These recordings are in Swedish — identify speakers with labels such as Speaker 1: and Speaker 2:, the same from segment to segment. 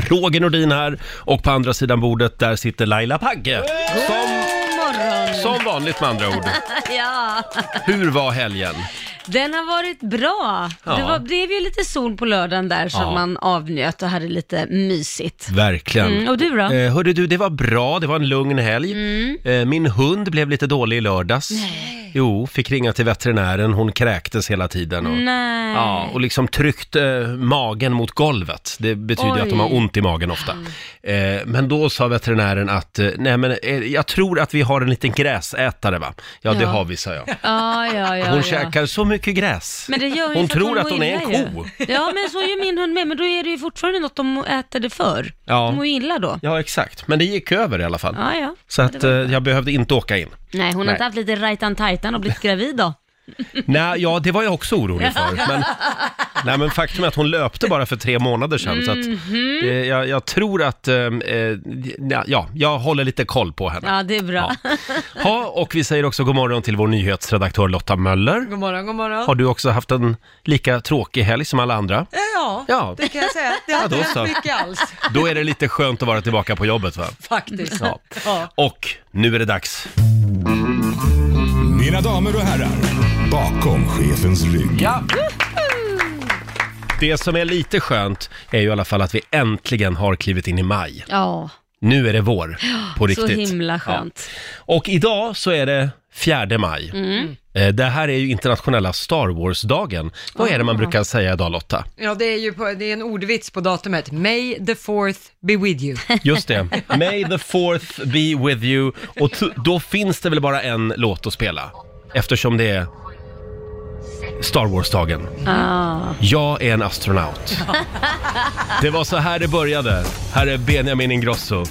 Speaker 1: Roger Nordin här och på andra sidan bordet där sitter Laila Pagge. Som,
Speaker 2: God morgon!
Speaker 1: som vanligt med andra ord.
Speaker 2: Ja,
Speaker 1: Hur var helgen?
Speaker 2: den har varit bra.
Speaker 1: Ja.
Speaker 2: Det var, blev ju lite sol på lördagen där som
Speaker 1: Ja.
Speaker 2: man avnjöt och hade lite mysigt.
Speaker 1: Verkligen.
Speaker 2: Mm, och du då? Mm.
Speaker 1: Eh, hörru du, det var bra. Det var en lugn helg. Eh, min hund blev lite dålig i lördags. Jo, fick ringa till veterinären. Hon kräktes hela tiden. Och,
Speaker 2: Nej.
Speaker 1: Ja, och liksom tryckte eh, magen mot golvet. Det betyder ju att de har
Speaker 2: Oj. Mm.
Speaker 1: ont i magen ofta. Eh, men då sa veterinären att, eh, nej men eh, jag tror att vi har en liten gräsätare va? Ja, det
Speaker 2: Ja.
Speaker 1: har vi, sa jag.
Speaker 2: Ja, ja, ja.
Speaker 1: Hon
Speaker 2: ja.
Speaker 1: käkar så mycket gräs.
Speaker 2: Men det gör ju
Speaker 1: hon
Speaker 2: för att
Speaker 1: tror
Speaker 2: hon
Speaker 1: att
Speaker 2: mår
Speaker 1: hon är en
Speaker 2: illa
Speaker 1: ko.
Speaker 2: Ju. Ja, men så är ju min hund med, men då är det ju fortfarande något de äter det för.
Speaker 1: Ja.
Speaker 2: De mår ju illa då.
Speaker 1: Ja, exakt. Men det gick över i alla fall.
Speaker 2: Ja, ja.
Speaker 1: Så att eh, jag behövde inte åka in.
Speaker 2: Nej, hon
Speaker 1: Nej.
Speaker 2: har inte haft lite rajtan tajtan och blivit gravid då.
Speaker 1: Nej, ja, det var jag också orolig för. Men, nej, men faktum är att hon löpte bara för tre månader sedan. Så
Speaker 3: Mm.
Speaker 1: att,
Speaker 2: Mhm.
Speaker 1: eh, jag, jag tror att, eh, eh, ja, jag håller lite koll på henne.
Speaker 2: Ja, det är bra.
Speaker 1: Ja. Ha, och vi säger också god morgon till vår nyhetsredaktör Lotta Möller.
Speaker 3: God morgon, god morgon.
Speaker 1: Har du också haft en lika tråkig helg som alla andra?
Speaker 3: Ja,
Speaker 1: Ja.
Speaker 3: det kan jag säga. Det har
Speaker 1: Ja,
Speaker 3: inte
Speaker 1: då
Speaker 3: hänt
Speaker 1: så.
Speaker 3: mycket alls,
Speaker 1: Då är det lite skönt att vara tillbaka på jobbet va?
Speaker 3: faktiskt.
Speaker 1: Ja.
Speaker 3: Ja.
Speaker 1: Och nu är det dags.
Speaker 4: Mina damer och herrar, bakom chefens rygg.
Speaker 1: Ja! Det som är lite skönt är ju i alla fall att vi äntligen har klivit in i maj.
Speaker 2: Ja,
Speaker 1: Nu är det vår, på
Speaker 2: så
Speaker 1: riktigt.
Speaker 2: himla skönt. Mm.
Speaker 1: Och idag så är det 4 maj. Eh, Det här är ju internationella Star Wars-dagen. Vad är det
Speaker 2: Ah.
Speaker 1: man brukar säga idag Lotta?
Speaker 3: ja, det är ju på, det är en ordvits på datumet. May the fourth be with you.
Speaker 1: Just det. May the fourth be with you. Och t- då finns det väl bara en låt att spela? Eftersom det är Star Wars-dagen.
Speaker 2: Ah.
Speaker 1: Jag är en astronaut. Det var så här det började. Här är Benjamin Ingrosso.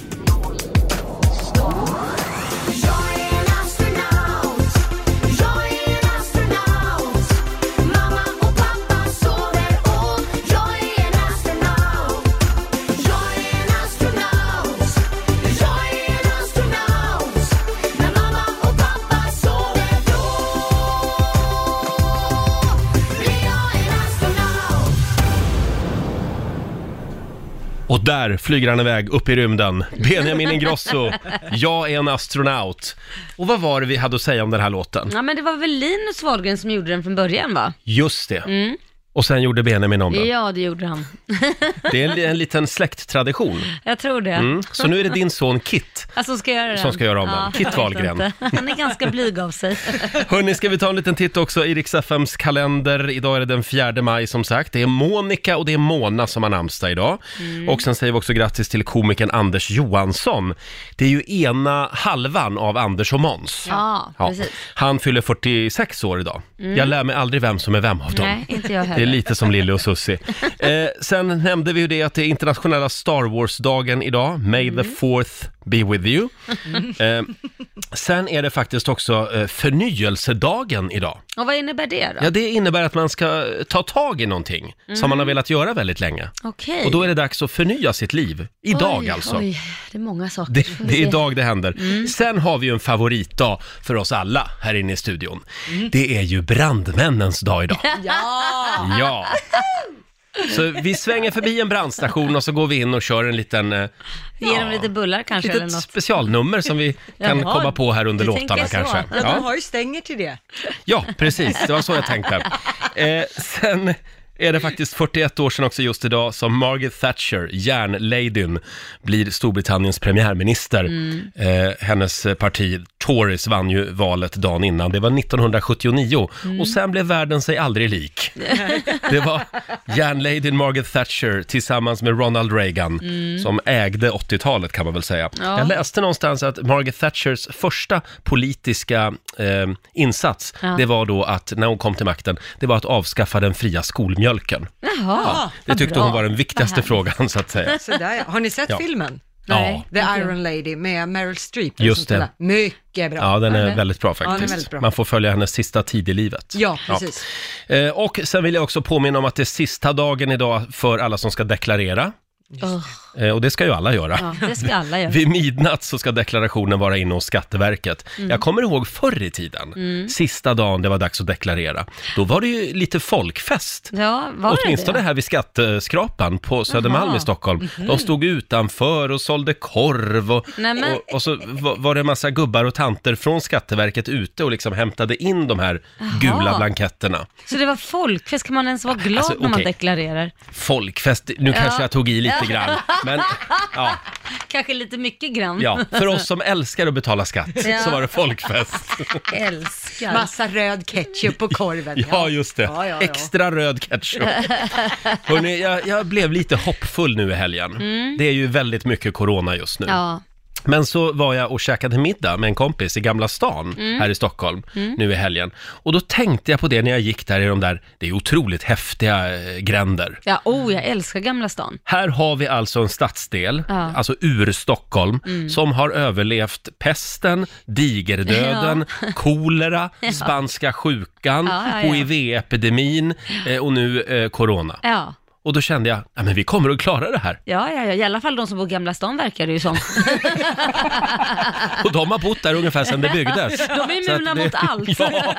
Speaker 1: Och där flyger han iväg upp i rymden. Benjamin Ingrosso. Jag är en astronaut. Och vad var det vi hade att säga om den här låten?
Speaker 2: Ja, men det var väl Linus Wahlgren som gjorde den från början, va?
Speaker 1: Just det.
Speaker 2: Mm.
Speaker 1: Och sen gjorde Benjamin om den.
Speaker 2: Ja, det gjorde han.
Speaker 1: Det är en, en liten släkttradition.
Speaker 2: Jag tror det.
Speaker 1: Mm. Så nu är det din son Kit
Speaker 2: Alltså ska jag göra den?
Speaker 1: Som ska göra om den.
Speaker 2: jag
Speaker 1: Kit
Speaker 2: vet
Speaker 1: Wahlgren.
Speaker 2: inte. Han är ganska blyg av sig.
Speaker 1: Hörni, ska vi ta en liten titt också i Riks-FMs kalender. Idag är det den 4 maj som sagt. Det är Monica och det är Mona som har namnsdag idag.
Speaker 2: Mm.
Speaker 1: Och sen säger vi också grattis till komikern Anders Johansson. Det är ju ena halvan av Anders och Måns.
Speaker 2: Ja,
Speaker 1: Ja.
Speaker 2: precis. Mm.
Speaker 1: Han fyller 46 år idag. Jag lär mig aldrig vem som är vem av dem.
Speaker 2: Nej, inte jag
Speaker 1: Det är
Speaker 2: heller.
Speaker 1: lite som Lille och Susie. Eh, sen nämnde vi ju det att det är internationella Star Wars-dagen idag. May the
Speaker 2: Mm.
Speaker 1: fourth be with you. Eh, sen är det faktiskt också eh, förnyelsedagen idag.
Speaker 2: Och vad innebär det då?
Speaker 1: Ja, det innebär att man ska eh, ta tag i någonting som man har velat göra väldigt länge.
Speaker 2: Mm. Okej.
Speaker 1: Och då är det dags att förnya sitt liv. Idag
Speaker 2: oj,
Speaker 1: alltså.
Speaker 2: Oj, det är många saker.
Speaker 1: Det,
Speaker 2: Får vi
Speaker 1: det är
Speaker 2: se.
Speaker 1: idag det händer. Sen har vi ju en favoritdag för oss alla här inne i studion. Det är ju brandmännens dag idag.
Speaker 3: Ja,
Speaker 1: Ja. Så vi svänger förbi en brandstation och så går vi in och kör en liten, eh,
Speaker 2: Ge
Speaker 1: Ja.
Speaker 2: dem lite bullar kanske eller
Speaker 1: litet
Speaker 2: något.
Speaker 1: specialnummer som vi kan
Speaker 2: Jaha,
Speaker 1: komma på här under
Speaker 2: du
Speaker 1: låtarna
Speaker 2: tänker så.
Speaker 1: kanske.
Speaker 3: ja, de
Speaker 1: Ja.
Speaker 3: har ju stänger till det.
Speaker 1: ja, precis. Det var så jag tänkte. Eh, sen är det faktiskt 41 år sedan också just idag som Margaret Thatcher, järnladyn, blir Storbritanniens premiärminister. Eh, hennes eh, parti Tories vann ju valet dagen innan. Det var 1979 och sen blev världen sig aldrig lik. Det var järnladyn Margaret Thatcher tillsammans med Ronald Reagan som ägde 80-talet kan man väl säga.
Speaker 2: Ja.
Speaker 1: Jag läste någonstans att Margaret Thatchers första politiska eh, insats,
Speaker 2: Ja.
Speaker 1: det var då att, när hon kom till makten, det var att avskaffa den fria skolmjölken.
Speaker 2: Jaha,
Speaker 3: Ja,
Speaker 1: Det tyckte hon var den
Speaker 2: Vad
Speaker 1: viktigaste
Speaker 2: härligt.
Speaker 1: frågan så att säga.
Speaker 3: Så där, ja. Har ni sett
Speaker 1: Ja.
Speaker 3: filmen?
Speaker 2: Nej.
Speaker 3: The Iron Lady med Meryl Streep.
Speaker 1: Just
Speaker 3: som spelar. Mycket bra.
Speaker 1: Ja, den är väldigt bra
Speaker 3: Ja, den är
Speaker 1: faktiskt.
Speaker 3: väldigt bra.
Speaker 1: Man får följa hennes sista tid i livet.
Speaker 3: Ja, precis.
Speaker 1: Eh, och sen vill jag också påminna om att det är sista dagen idag för alla som ska deklarera.
Speaker 2: Åh,
Speaker 1: Eh, Och det ska ju alla göra.
Speaker 2: Ja, det ska alla göra.
Speaker 1: Vid midnatt så ska deklarationen vara inne hos Skatteverket.
Speaker 2: Mm.
Speaker 1: Jag kommer ihåg förr i tiden, sista dagen det var dags att deklarera. Då var det ju lite folkfest.
Speaker 2: Ja, var
Speaker 1: Åtminstone
Speaker 2: det det?
Speaker 1: här vid skatteskrapan på Södermalm
Speaker 2: Jaha. Mhm.
Speaker 1: i Stockholm. De stod utanför och sålde korv och,
Speaker 2: Nej, men-
Speaker 1: och, och så va- var det en massa gubbar och tanter från Skatteverket ute och liksom hämtade in de här gula
Speaker 2: Jaha.
Speaker 1: blanketterna.
Speaker 2: Så det var folkfest, kan man ens vara glad
Speaker 1: Alltså,
Speaker 2: när man
Speaker 1: okej.
Speaker 2: deklarerar?
Speaker 1: Folkfest, nu kanske jag tog i lite grann, men ja,
Speaker 2: Kanske lite mycket grann.
Speaker 1: ja, för oss som älskar att betala skatt
Speaker 2: Ja.
Speaker 1: så var det folkfest.
Speaker 2: Älskar.
Speaker 3: Massa röd ketchup på korven.
Speaker 1: Ja, just det.
Speaker 3: Ja, ja, ja.
Speaker 1: Extra röd ketchup. Hörrni, jag, jag blev lite hoppfull nu i helgen.
Speaker 3: Mm.
Speaker 1: Det är ju väldigt mycket corona just nu.
Speaker 2: Ja.
Speaker 1: Men så var jag och käkade middag med en kompis i Gamla stan
Speaker 3: Mm.
Speaker 1: här i Stockholm nu i helgen. Och då tänkte jag på det när jag gick där i de där, det är otroligt häftiga eh, gränder.
Speaker 2: ja, oh jag älskar Gamla stan.
Speaker 1: Här har vi alltså en stadsdel,
Speaker 2: Ja. Mm.
Speaker 1: alltså ur Stockholm, som har överlevt pesten, digerdöden, kolera, spanska sjukan,
Speaker 2: Ja, ja, ja.
Speaker 1: hiv-epidemin eh, och nu eh, corona.
Speaker 2: Ja.
Speaker 1: Och då kände jag, ja men vi kommer att klara det här.
Speaker 2: Ja, ja, ja, i alla fall de som bor i Gamla stan verkar det ju som.
Speaker 1: Och de har bott där ungefär sedan det byggdes.
Speaker 2: De är
Speaker 1: Så att
Speaker 2: immuna
Speaker 1: det-
Speaker 2: mot allt.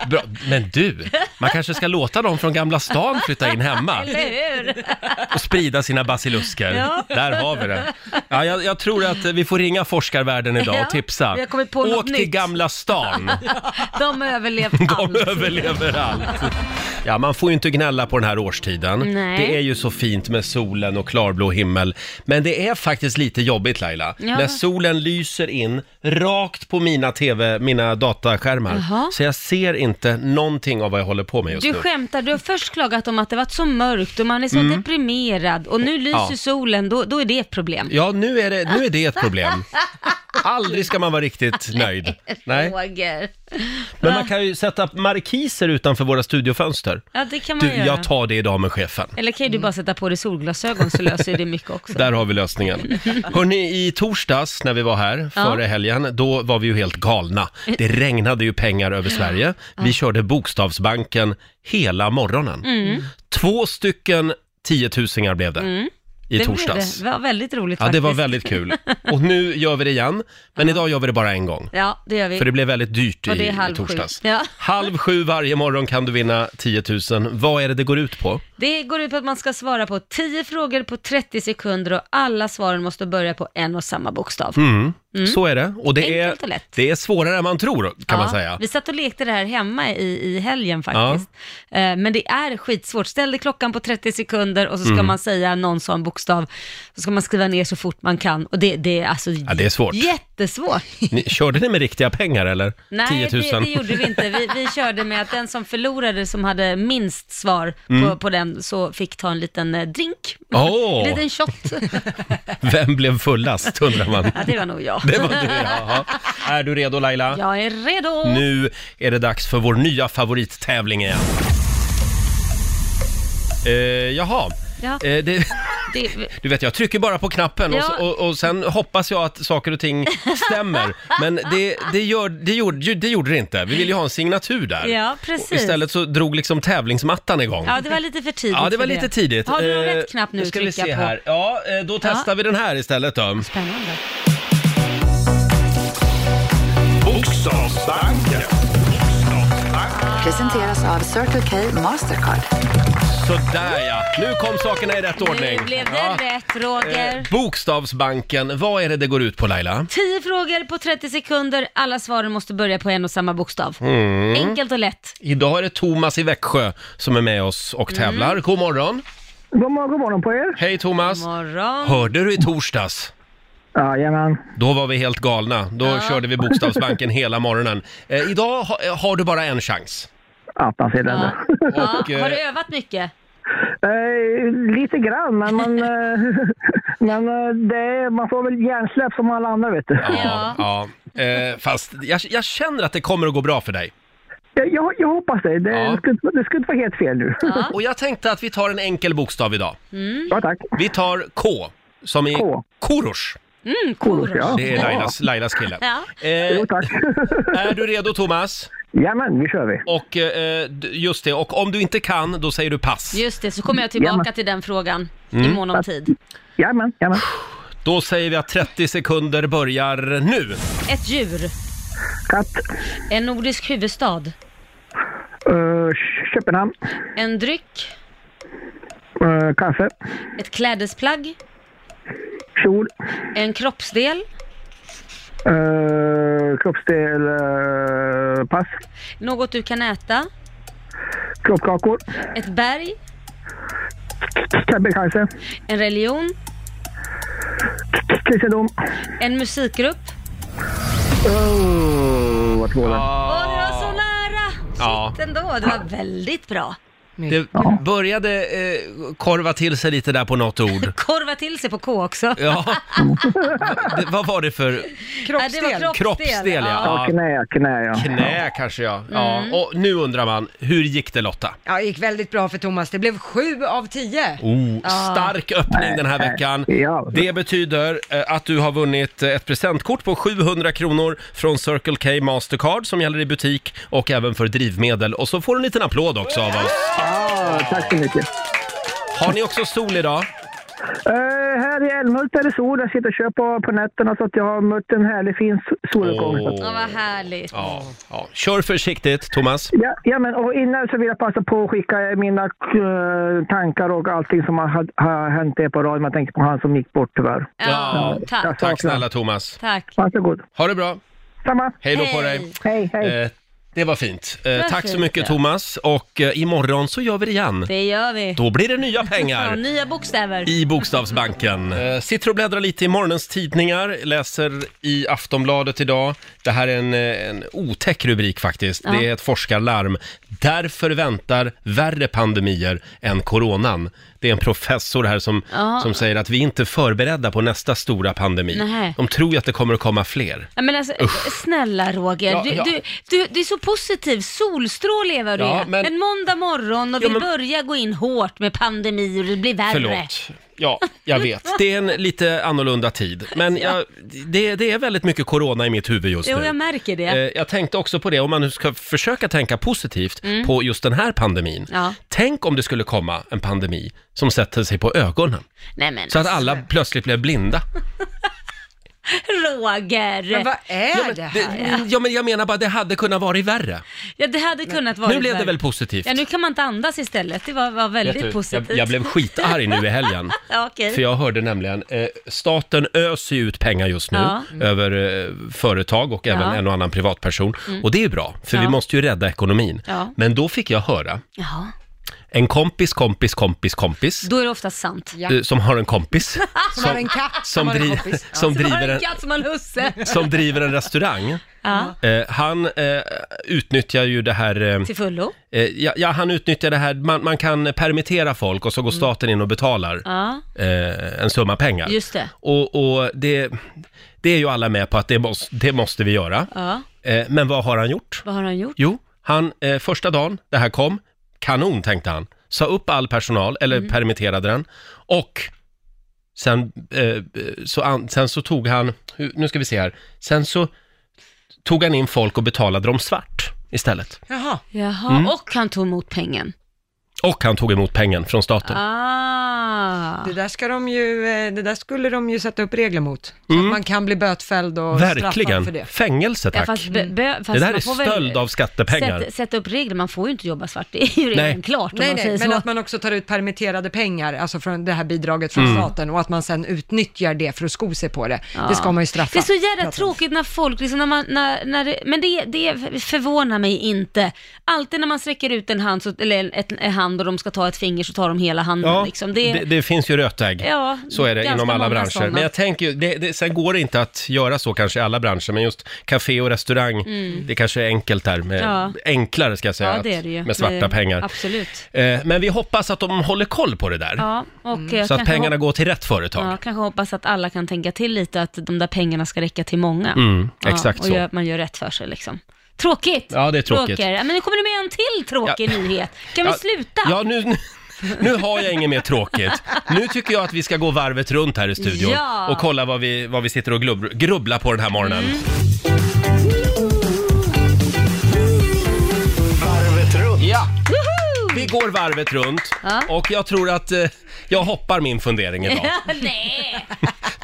Speaker 1: Ja. Bra. Men du, man kanske ska låta dem från Gamla stan flytta in hemma
Speaker 2: Eller hur?
Speaker 1: och sprida sina basilusker.
Speaker 2: Ja.
Speaker 1: Där har vi det. Ja, jag, jag tror att vi får ringa forskarvärlden idag
Speaker 2: Ja,
Speaker 1: och tipsa.
Speaker 2: vi har kommit på
Speaker 1: Åk
Speaker 2: något
Speaker 1: till
Speaker 2: nytt.
Speaker 1: Gamla stan.
Speaker 2: De har överlevt
Speaker 1: De
Speaker 2: allt.
Speaker 1: överlever allt. Ja, man får ju inte gnälla på den här årstiden.
Speaker 2: Nej.
Speaker 1: Det är ju så fint med solen och klarblå himmel. Men det är faktiskt lite jobbigt Laila,
Speaker 2: Ja.
Speaker 1: när solen lyser in rakt på mina TV, mina dataskärmar.
Speaker 2: Jaha.
Speaker 1: Så jag ser inte någonting av vad jag håller på med just
Speaker 2: Du
Speaker 1: nu.
Speaker 2: skämtar, du har först klagat om att det varit så mörkt och man är så deprimerad och nu lyser
Speaker 1: Mm. Ja.
Speaker 2: solen, då, då är det ett problem.
Speaker 1: Ja, nu är, det, nu är det ett problem. Aldrig ska man vara riktigt nöjd. Nej.
Speaker 2: Roger.
Speaker 1: Men man kan ju sätta upp markiser utanför våra studiofönster.
Speaker 2: Ja, det kan man
Speaker 1: Du,
Speaker 2: göra.
Speaker 1: jag tar det idag med chefen.
Speaker 2: Eller kan ju du bara sätta på dig solglasögon så löser det mycket också.
Speaker 1: Där har vi lösningen. Hörrni, i torsdags när vi var här
Speaker 2: Ja.
Speaker 1: före helgen, då var vi ju helt galna. Det regnade ju pengar över Sverige. Vi körde Bokstavsbanken hela morgonen.
Speaker 2: Mm.
Speaker 1: Två stycken tiotusingar blev det i
Speaker 2: det
Speaker 1: torsdags.
Speaker 2: Blev det. det var väldigt roligt
Speaker 1: Ja,
Speaker 2: faktiskt.
Speaker 1: det var väldigt kul. Och nu gör vi det igen, men idag gör vi det bara en gång.
Speaker 2: Ja, det gör vi.
Speaker 1: För det blev väldigt dyrt i,
Speaker 2: Och det är
Speaker 1: i
Speaker 2: halv sju.
Speaker 1: torsdags.
Speaker 2: Ja.
Speaker 1: Halv sju varje morgon kan du vinna 10 000. Vad är det det går ut på?
Speaker 2: Det går ut på att man ska svara på 10 frågor på 30 sekunder och alla svaren måste börja på en och samma bokstav.
Speaker 1: Mm, Så är det. Och det är,
Speaker 2: Enkelt och lätt.
Speaker 1: det är svårare än man tror, kan man säga.
Speaker 2: Vi satt och lekte det här hemma i, i helgen faktiskt. Eh, Men det är skitsvårt. Ställ dig klockan på 30 sekunder och så ska
Speaker 1: Mm.
Speaker 2: man säga någon sån bokstav. Så ska man skriva ner så fort man kan. Och det, det är alltså
Speaker 1: det är svårt.
Speaker 2: jättesvårt.
Speaker 1: Ni, körde ni med riktiga pengar eller?
Speaker 2: Nej,
Speaker 1: 10 000?
Speaker 2: det, det gjorde vi inte. Vi, vi körde med att den som förlorade, som hade minst svar på, på den, så fick ta en liten eh, drink.
Speaker 1: Mm. Åh,
Speaker 2: En liten shot.
Speaker 1: vem blev fullast undrar man.
Speaker 2: ja, det var nog jag.
Speaker 1: Det var du, jaha. Är du redo Laila?
Speaker 2: Jag är redo.
Speaker 1: Nu är det dags för vår nya favorittävling igen. Eh, jaha.
Speaker 2: Ja.
Speaker 1: Eh, det,
Speaker 2: Det,
Speaker 1: du vet, jag trycker bara på knappen och,
Speaker 2: Ja.
Speaker 1: så- och, och sen hoppas jag att saker och ting stämmer. Men det, det, gör, det, gjorde, det gjorde det inte. Vi vill ju ha en signatur där.
Speaker 2: Ja, precis.
Speaker 1: Och Istället så drog liksom tävlingsmattan igång.
Speaker 2: ja, det var lite för tidigt.
Speaker 1: Ja, det var
Speaker 2: för
Speaker 1: lite tidigt.
Speaker 2: Har du någon
Speaker 1: Eh,
Speaker 2: rätt knapp nu att
Speaker 1: ska vi
Speaker 2: trycka
Speaker 1: se
Speaker 2: på?
Speaker 1: här. Ja, eh, då testar vi den här istället då.
Speaker 2: Spännande.
Speaker 4: Bokstavsbanken.
Speaker 5: Presenteras av Circle K Mastercard.
Speaker 1: Sådär ja, nu kom sakerna i rätt ordning.
Speaker 2: Nu blev det
Speaker 1: Ja.
Speaker 2: rätt, Roger.
Speaker 1: Eh, Bokstavsbanken, vad är det det går ut på Laila?
Speaker 2: Tio frågor på 30 sekunder. Alla svaren måste börja på en och samma bokstav.
Speaker 1: Mm.
Speaker 2: Enkelt och lätt.
Speaker 1: Idag är det Thomas i Växjö som är med oss och tävlar. God morgon!
Speaker 6: God morgon, god morgon på er.
Speaker 1: Hej Thomas!
Speaker 2: Morgon.
Speaker 1: Hörde du i torsdags?
Speaker 6: Jajamän.
Speaker 1: Då var vi helt galna. Då körde vi Bokstavsbanken hela morgonen. Eh, idag ha, eh, har du bara en chans.
Speaker 6: Attans elände.
Speaker 2: Ja,
Speaker 1: Och, eh,
Speaker 2: har du övat mycket?
Speaker 6: Eh, lite grann, men, man, eh, men eh, det är, man får väl hjärnsläpp som alla andra vet du.
Speaker 2: Ja.
Speaker 1: ja. Eh, fast jag, jag känner att det kommer att gå bra för dig.
Speaker 6: Jag, jag, jag hoppas det. Det,
Speaker 1: Ja.
Speaker 6: det, skulle, inte- det skulle inte vara helt fel nu. Ja,
Speaker 1: Och jag tänkte att vi tar en enkel bokstav idag.
Speaker 6: tack.
Speaker 1: Vi tar K, som i
Speaker 6: K.
Speaker 1: Korosh.
Speaker 6: Korosh, ja.
Speaker 1: Det är Lailas, Lailas kille.
Speaker 2: Mm, Ja.
Speaker 1: Eh,
Speaker 6: Jo, tack.
Speaker 1: är du redo Thomas?
Speaker 6: Jajamän, nu kör vi.
Speaker 1: Och eh, d- just det, och om du inte kan, då säger du pass.
Speaker 2: Just det, så kommer jag tillbaka
Speaker 6: Jajamän.
Speaker 2: till den frågan.
Speaker 1: Mm.
Speaker 2: i mån om tid.
Speaker 6: Jajamän, jajamän.
Speaker 1: Då säger vi att 30 sekunder börjar nu.
Speaker 2: Ett djur,
Speaker 6: Katt.
Speaker 2: en nordisk huvudstad,
Speaker 6: Uh, Köpenhamn.
Speaker 2: en dryck,
Speaker 6: Eh, kaffe.
Speaker 2: ett klädesplagg,
Speaker 6: Kjol.
Speaker 2: en kroppsdel,
Speaker 6: Uh, kroppsdel. eh, pass.
Speaker 2: något du kan äta,
Speaker 6: Kroppkakor.
Speaker 2: ett berg,
Speaker 6: Kebnekaise.
Speaker 2: en religion,
Speaker 6: Kristendom.
Speaker 2: en musikgrupp.
Speaker 6: Oh, vart går den?
Speaker 1: Ah.
Speaker 2: Åh, du var så nära! Shit
Speaker 1: Ja.
Speaker 2: ändå, det var väldigt bra.
Speaker 1: Det började eh, korva till sig lite där på något ord.
Speaker 2: Korva till sig på K också.
Speaker 1: Ja. Det, vad var det för
Speaker 2: Nej, det var
Speaker 3: Kroppsdel.
Speaker 1: kroppsdel? Ja. Ja.
Speaker 6: Knä, knä ja.
Speaker 1: Knä kanske ja. ja. Och nu undrar man, hur gick det Lotta?
Speaker 3: Ja, det gick väldigt bra för Thomas. Det blev sju av tio.
Speaker 1: Oh, stark öppning den här veckan.
Speaker 6: Ja.
Speaker 1: Det betyder eh, att du har vunnit eh, ett presentkort på 700 kronor från Circle K Mastercard som gäller i butik och även för drivmedel. Och så får du en liten applåd också av oss.
Speaker 6: Ja, Ah, tack så mycket.
Speaker 1: Har ni också sol idag?
Speaker 6: Eh, här i Älmhult är det sol. Jag sitter och kör på, på nätterna så att jag har mött en härlig fin so- soluppgång. Så att-
Speaker 2: Ja, vad härligt.
Speaker 1: Ja, ja. Kör försiktigt Thomas.
Speaker 6: Ja, ja, men och innan så vill jag passa på att skicka mina eh, tankar och allting som har, har hänt det på radion. Jag tänker på han som gick bort tyvärr.
Speaker 1: Ja,
Speaker 2: Ja, tack.
Speaker 1: Tack snälla Thomas.
Speaker 2: Tack.
Speaker 6: Varsågod.
Speaker 1: Ha det bra.
Speaker 6: Samma.
Speaker 1: Hej då på
Speaker 2: Hej.
Speaker 1: dig.
Speaker 6: Hej, hej.
Speaker 1: Eh, det var fint. Eh,
Speaker 2: var
Speaker 1: tack så
Speaker 2: fint,
Speaker 1: mycket
Speaker 2: ja.
Speaker 1: Thomas och eh, imorgon så gör vi det igen.
Speaker 2: Det gör vi.
Speaker 1: Då blir det nya
Speaker 2: Ja,
Speaker 1: pengar.
Speaker 2: nya bokstäver.
Speaker 1: i Bokstavsbanken. Eh, sitter och bläddrar lite i morgonens tidningar, läser i Aftonbladet idag. Det här är en, eh, en otäck rubrik faktiskt.
Speaker 2: Ja.
Speaker 1: Det är ett forskarlarm. Därför väntar värre pandemier än coronan. Det är en professor här som,
Speaker 2: Ja.
Speaker 1: som säger att vi är inte är förberedda på nästa stora pandemi.
Speaker 2: Nej.
Speaker 1: De tror ju att det kommer att komma fler.
Speaker 2: Ja, men alltså, snälla Roger,
Speaker 1: Ja,
Speaker 2: du,
Speaker 1: ja.
Speaker 2: Du, du, du är så positiv, solstråle är vad du
Speaker 1: Ja,
Speaker 2: är.
Speaker 1: men-
Speaker 2: En måndag morgon och
Speaker 1: Jo,
Speaker 2: vi
Speaker 1: men-
Speaker 2: börjar gå in hårt med pandemi och det blir värre.
Speaker 1: Förlåt. Ja, jag vet. Det är en lite annorlunda tid. Men jag, det, det är väldigt mycket corona i mitt huvud just
Speaker 2: Jo,
Speaker 1: nu.
Speaker 2: jag märker det.
Speaker 1: Eh, Jag tänkte också på det, om man nu ska försöka tänka positivt på just den här pandemin.
Speaker 2: Mm. Ja.
Speaker 1: Tänk om det skulle komma en pandemi som sätter sig på ögonen,
Speaker 2: Nej men, alltså.
Speaker 1: så att alla plötsligt blev blinda.
Speaker 2: Roger!
Speaker 3: Men vad är det
Speaker 1: Det, mm,
Speaker 3: här?
Speaker 1: ja, men jag menar bara, det hade kunnat vara värre.
Speaker 2: Ja, det hade kunnat vara
Speaker 1: nu blev det väl positivt?
Speaker 2: Ja, nu kan man inte andas istället. Det var, var
Speaker 1: Vet
Speaker 2: väldigt
Speaker 1: du,
Speaker 2: positivt.
Speaker 1: Jag, jag blev skitarg nu i helgen.
Speaker 2: Ja, okej.
Speaker 1: För jag hörde nämligen, eh, staten öser ju ut pengar just nu
Speaker 2: Ja.
Speaker 1: över eh, företag och även
Speaker 2: Ja. Mm.
Speaker 1: en och annan privatperson. Och det är ju bra, för vi
Speaker 2: Ja.
Speaker 1: måste ju rädda ekonomin.
Speaker 2: Ja.
Speaker 1: Men då fick jag höra,
Speaker 2: Jaha.
Speaker 1: En kompis, kompis, kompis, kompis.
Speaker 2: Då är det ofta sant.
Speaker 3: Ja.
Speaker 1: eh, Som har en kompis.
Speaker 3: Som har en katt
Speaker 1: Som,
Speaker 3: har en
Speaker 1: dri-
Speaker 3: kompis.
Speaker 1: som,
Speaker 2: Som har
Speaker 1: driver en,
Speaker 2: en katt som har en husse.
Speaker 1: som driver en restaurang.
Speaker 2: Ja,
Speaker 1: Eh, han eh, utnyttjar ju det här... Eh,
Speaker 2: till fullo.
Speaker 1: eh, ja, ja, han utnyttjar det här, man, man kan permittera folk och så går staten in och betalar
Speaker 2: Mm. Ja,
Speaker 1: eh, en summa pengar.
Speaker 2: Just det.
Speaker 1: Och, och det, det är ju alla med på att det, måste, det måste vi göra.
Speaker 2: ja.
Speaker 1: Eh, men vad har han gjort?
Speaker 2: Vad har han gjort?
Speaker 1: Jo, han, eh, första dagen det här kom, kanon tänkte han. Sa upp all personal, eller
Speaker 2: Mm.
Speaker 1: permitterade den. Och sen, eh, så an, sen så tog han, hur- nu ska vi se här, sen så tog han in folk och betalade dem svart istället.
Speaker 3: Jaha.
Speaker 2: Jaha,
Speaker 1: Mm.
Speaker 2: och han tog emot pengen.
Speaker 1: Och han tog emot pengen från staten.
Speaker 2: Ah.
Speaker 3: Det där, ska de ju, eh, det där skulle de ju sätta upp regler mot. Så att man kan bli bötfälld och straffad för
Speaker 1: Mm. Verkligen!
Speaker 3: det.
Speaker 1: Fängelse
Speaker 2: Ja,
Speaker 1: tack!
Speaker 2: fast bö- bö- fast
Speaker 1: det där
Speaker 2: man
Speaker 1: är
Speaker 2: får väl
Speaker 1: stöld av skattepengar.
Speaker 2: Sätta, sätta upp regler, man får ju inte jobba svart. Det är ju
Speaker 1: Nej.
Speaker 2: redan klart om
Speaker 3: Nej,
Speaker 2: man säger
Speaker 3: nej, men
Speaker 2: så.
Speaker 3: att man också tar ut permitterade pengar, alltså från det här bidraget från
Speaker 1: Mm.
Speaker 3: staten och att man sen utnyttjar det för att sko sig på det. Det ska man ju straffa.
Speaker 2: Det är så jävla
Speaker 3: Pratar om.
Speaker 2: tråkigt när folk, liksom, när man, när, när det, men det, det förvånar mig inte. Alltid när man sträcker ut en hand, så, eller en, ett, en hand och de ska ta ett finger så tar de hela handen.
Speaker 1: Ja,
Speaker 2: liksom.
Speaker 1: det, det, finns ju rötägg.
Speaker 2: Ja,
Speaker 1: så är det
Speaker 2: ganska
Speaker 1: inom alla
Speaker 2: många
Speaker 1: branscher.
Speaker 2: sådana.
Speaker 1: Men jag tänker ju, det, det, sen går det inte att göra så kanske i alla branscher, men just café och restaurang, det kanske är enkelt där. Med,
Speaker 2: Mm. Ja.
Speaker 1: Enklare ska jag säga,
Speaker 2: ja, det är det ju.
Speaker 1: Att, med svarta
Speaker 2: Det-
Speaker 1: pengar.
Speaker 2: Absolut.
Speaker 1: Eh, men vi hoppas att de håller koll på det där.
Speaker 2: Ja, och jag
Speaker 1: Mm. Så att
Speaker 2: kanske
Speaker 1: pengarna
Speaker 2: hop-
Speaker 1: går till rätt företag.
Speaker 2: Ja, kanske hoppas att alla kan tänka till lite att de där pengarna ska räcka till många.
Speaker 1: Mm, exakt
Speaker 2: ja, och
Speaker 1: så.
Speaker 2: Gör, man gör rätt för sig liksom. Tråkigt!
Speaker 1: Ja, det är tråkigt.
Speaker 2: Roger. Ja, Men nu kommer du med en till tråkig nyhet. Kan vi
Speaker 1: Ja,
Speaker 2: sluta?
Speaker 1: Ja, nu, nu har jag inget mer tråkigt. Nu tycker jag att vi ska gå varvet runt här i studion
Speaker 2: Ja. Mm.
Speaker 1: och kolla vad vi, vad vi sitter och glubb, grubblar på den här morgonen.
Speaker 4: Varvet runt.
Speaker 1: Ja! Vi går varvet runt
Speaker 2: Ja.
Speaker 1: och jag tror att eh, jag hoppar min fundering idag.
Speaker 2: Nej!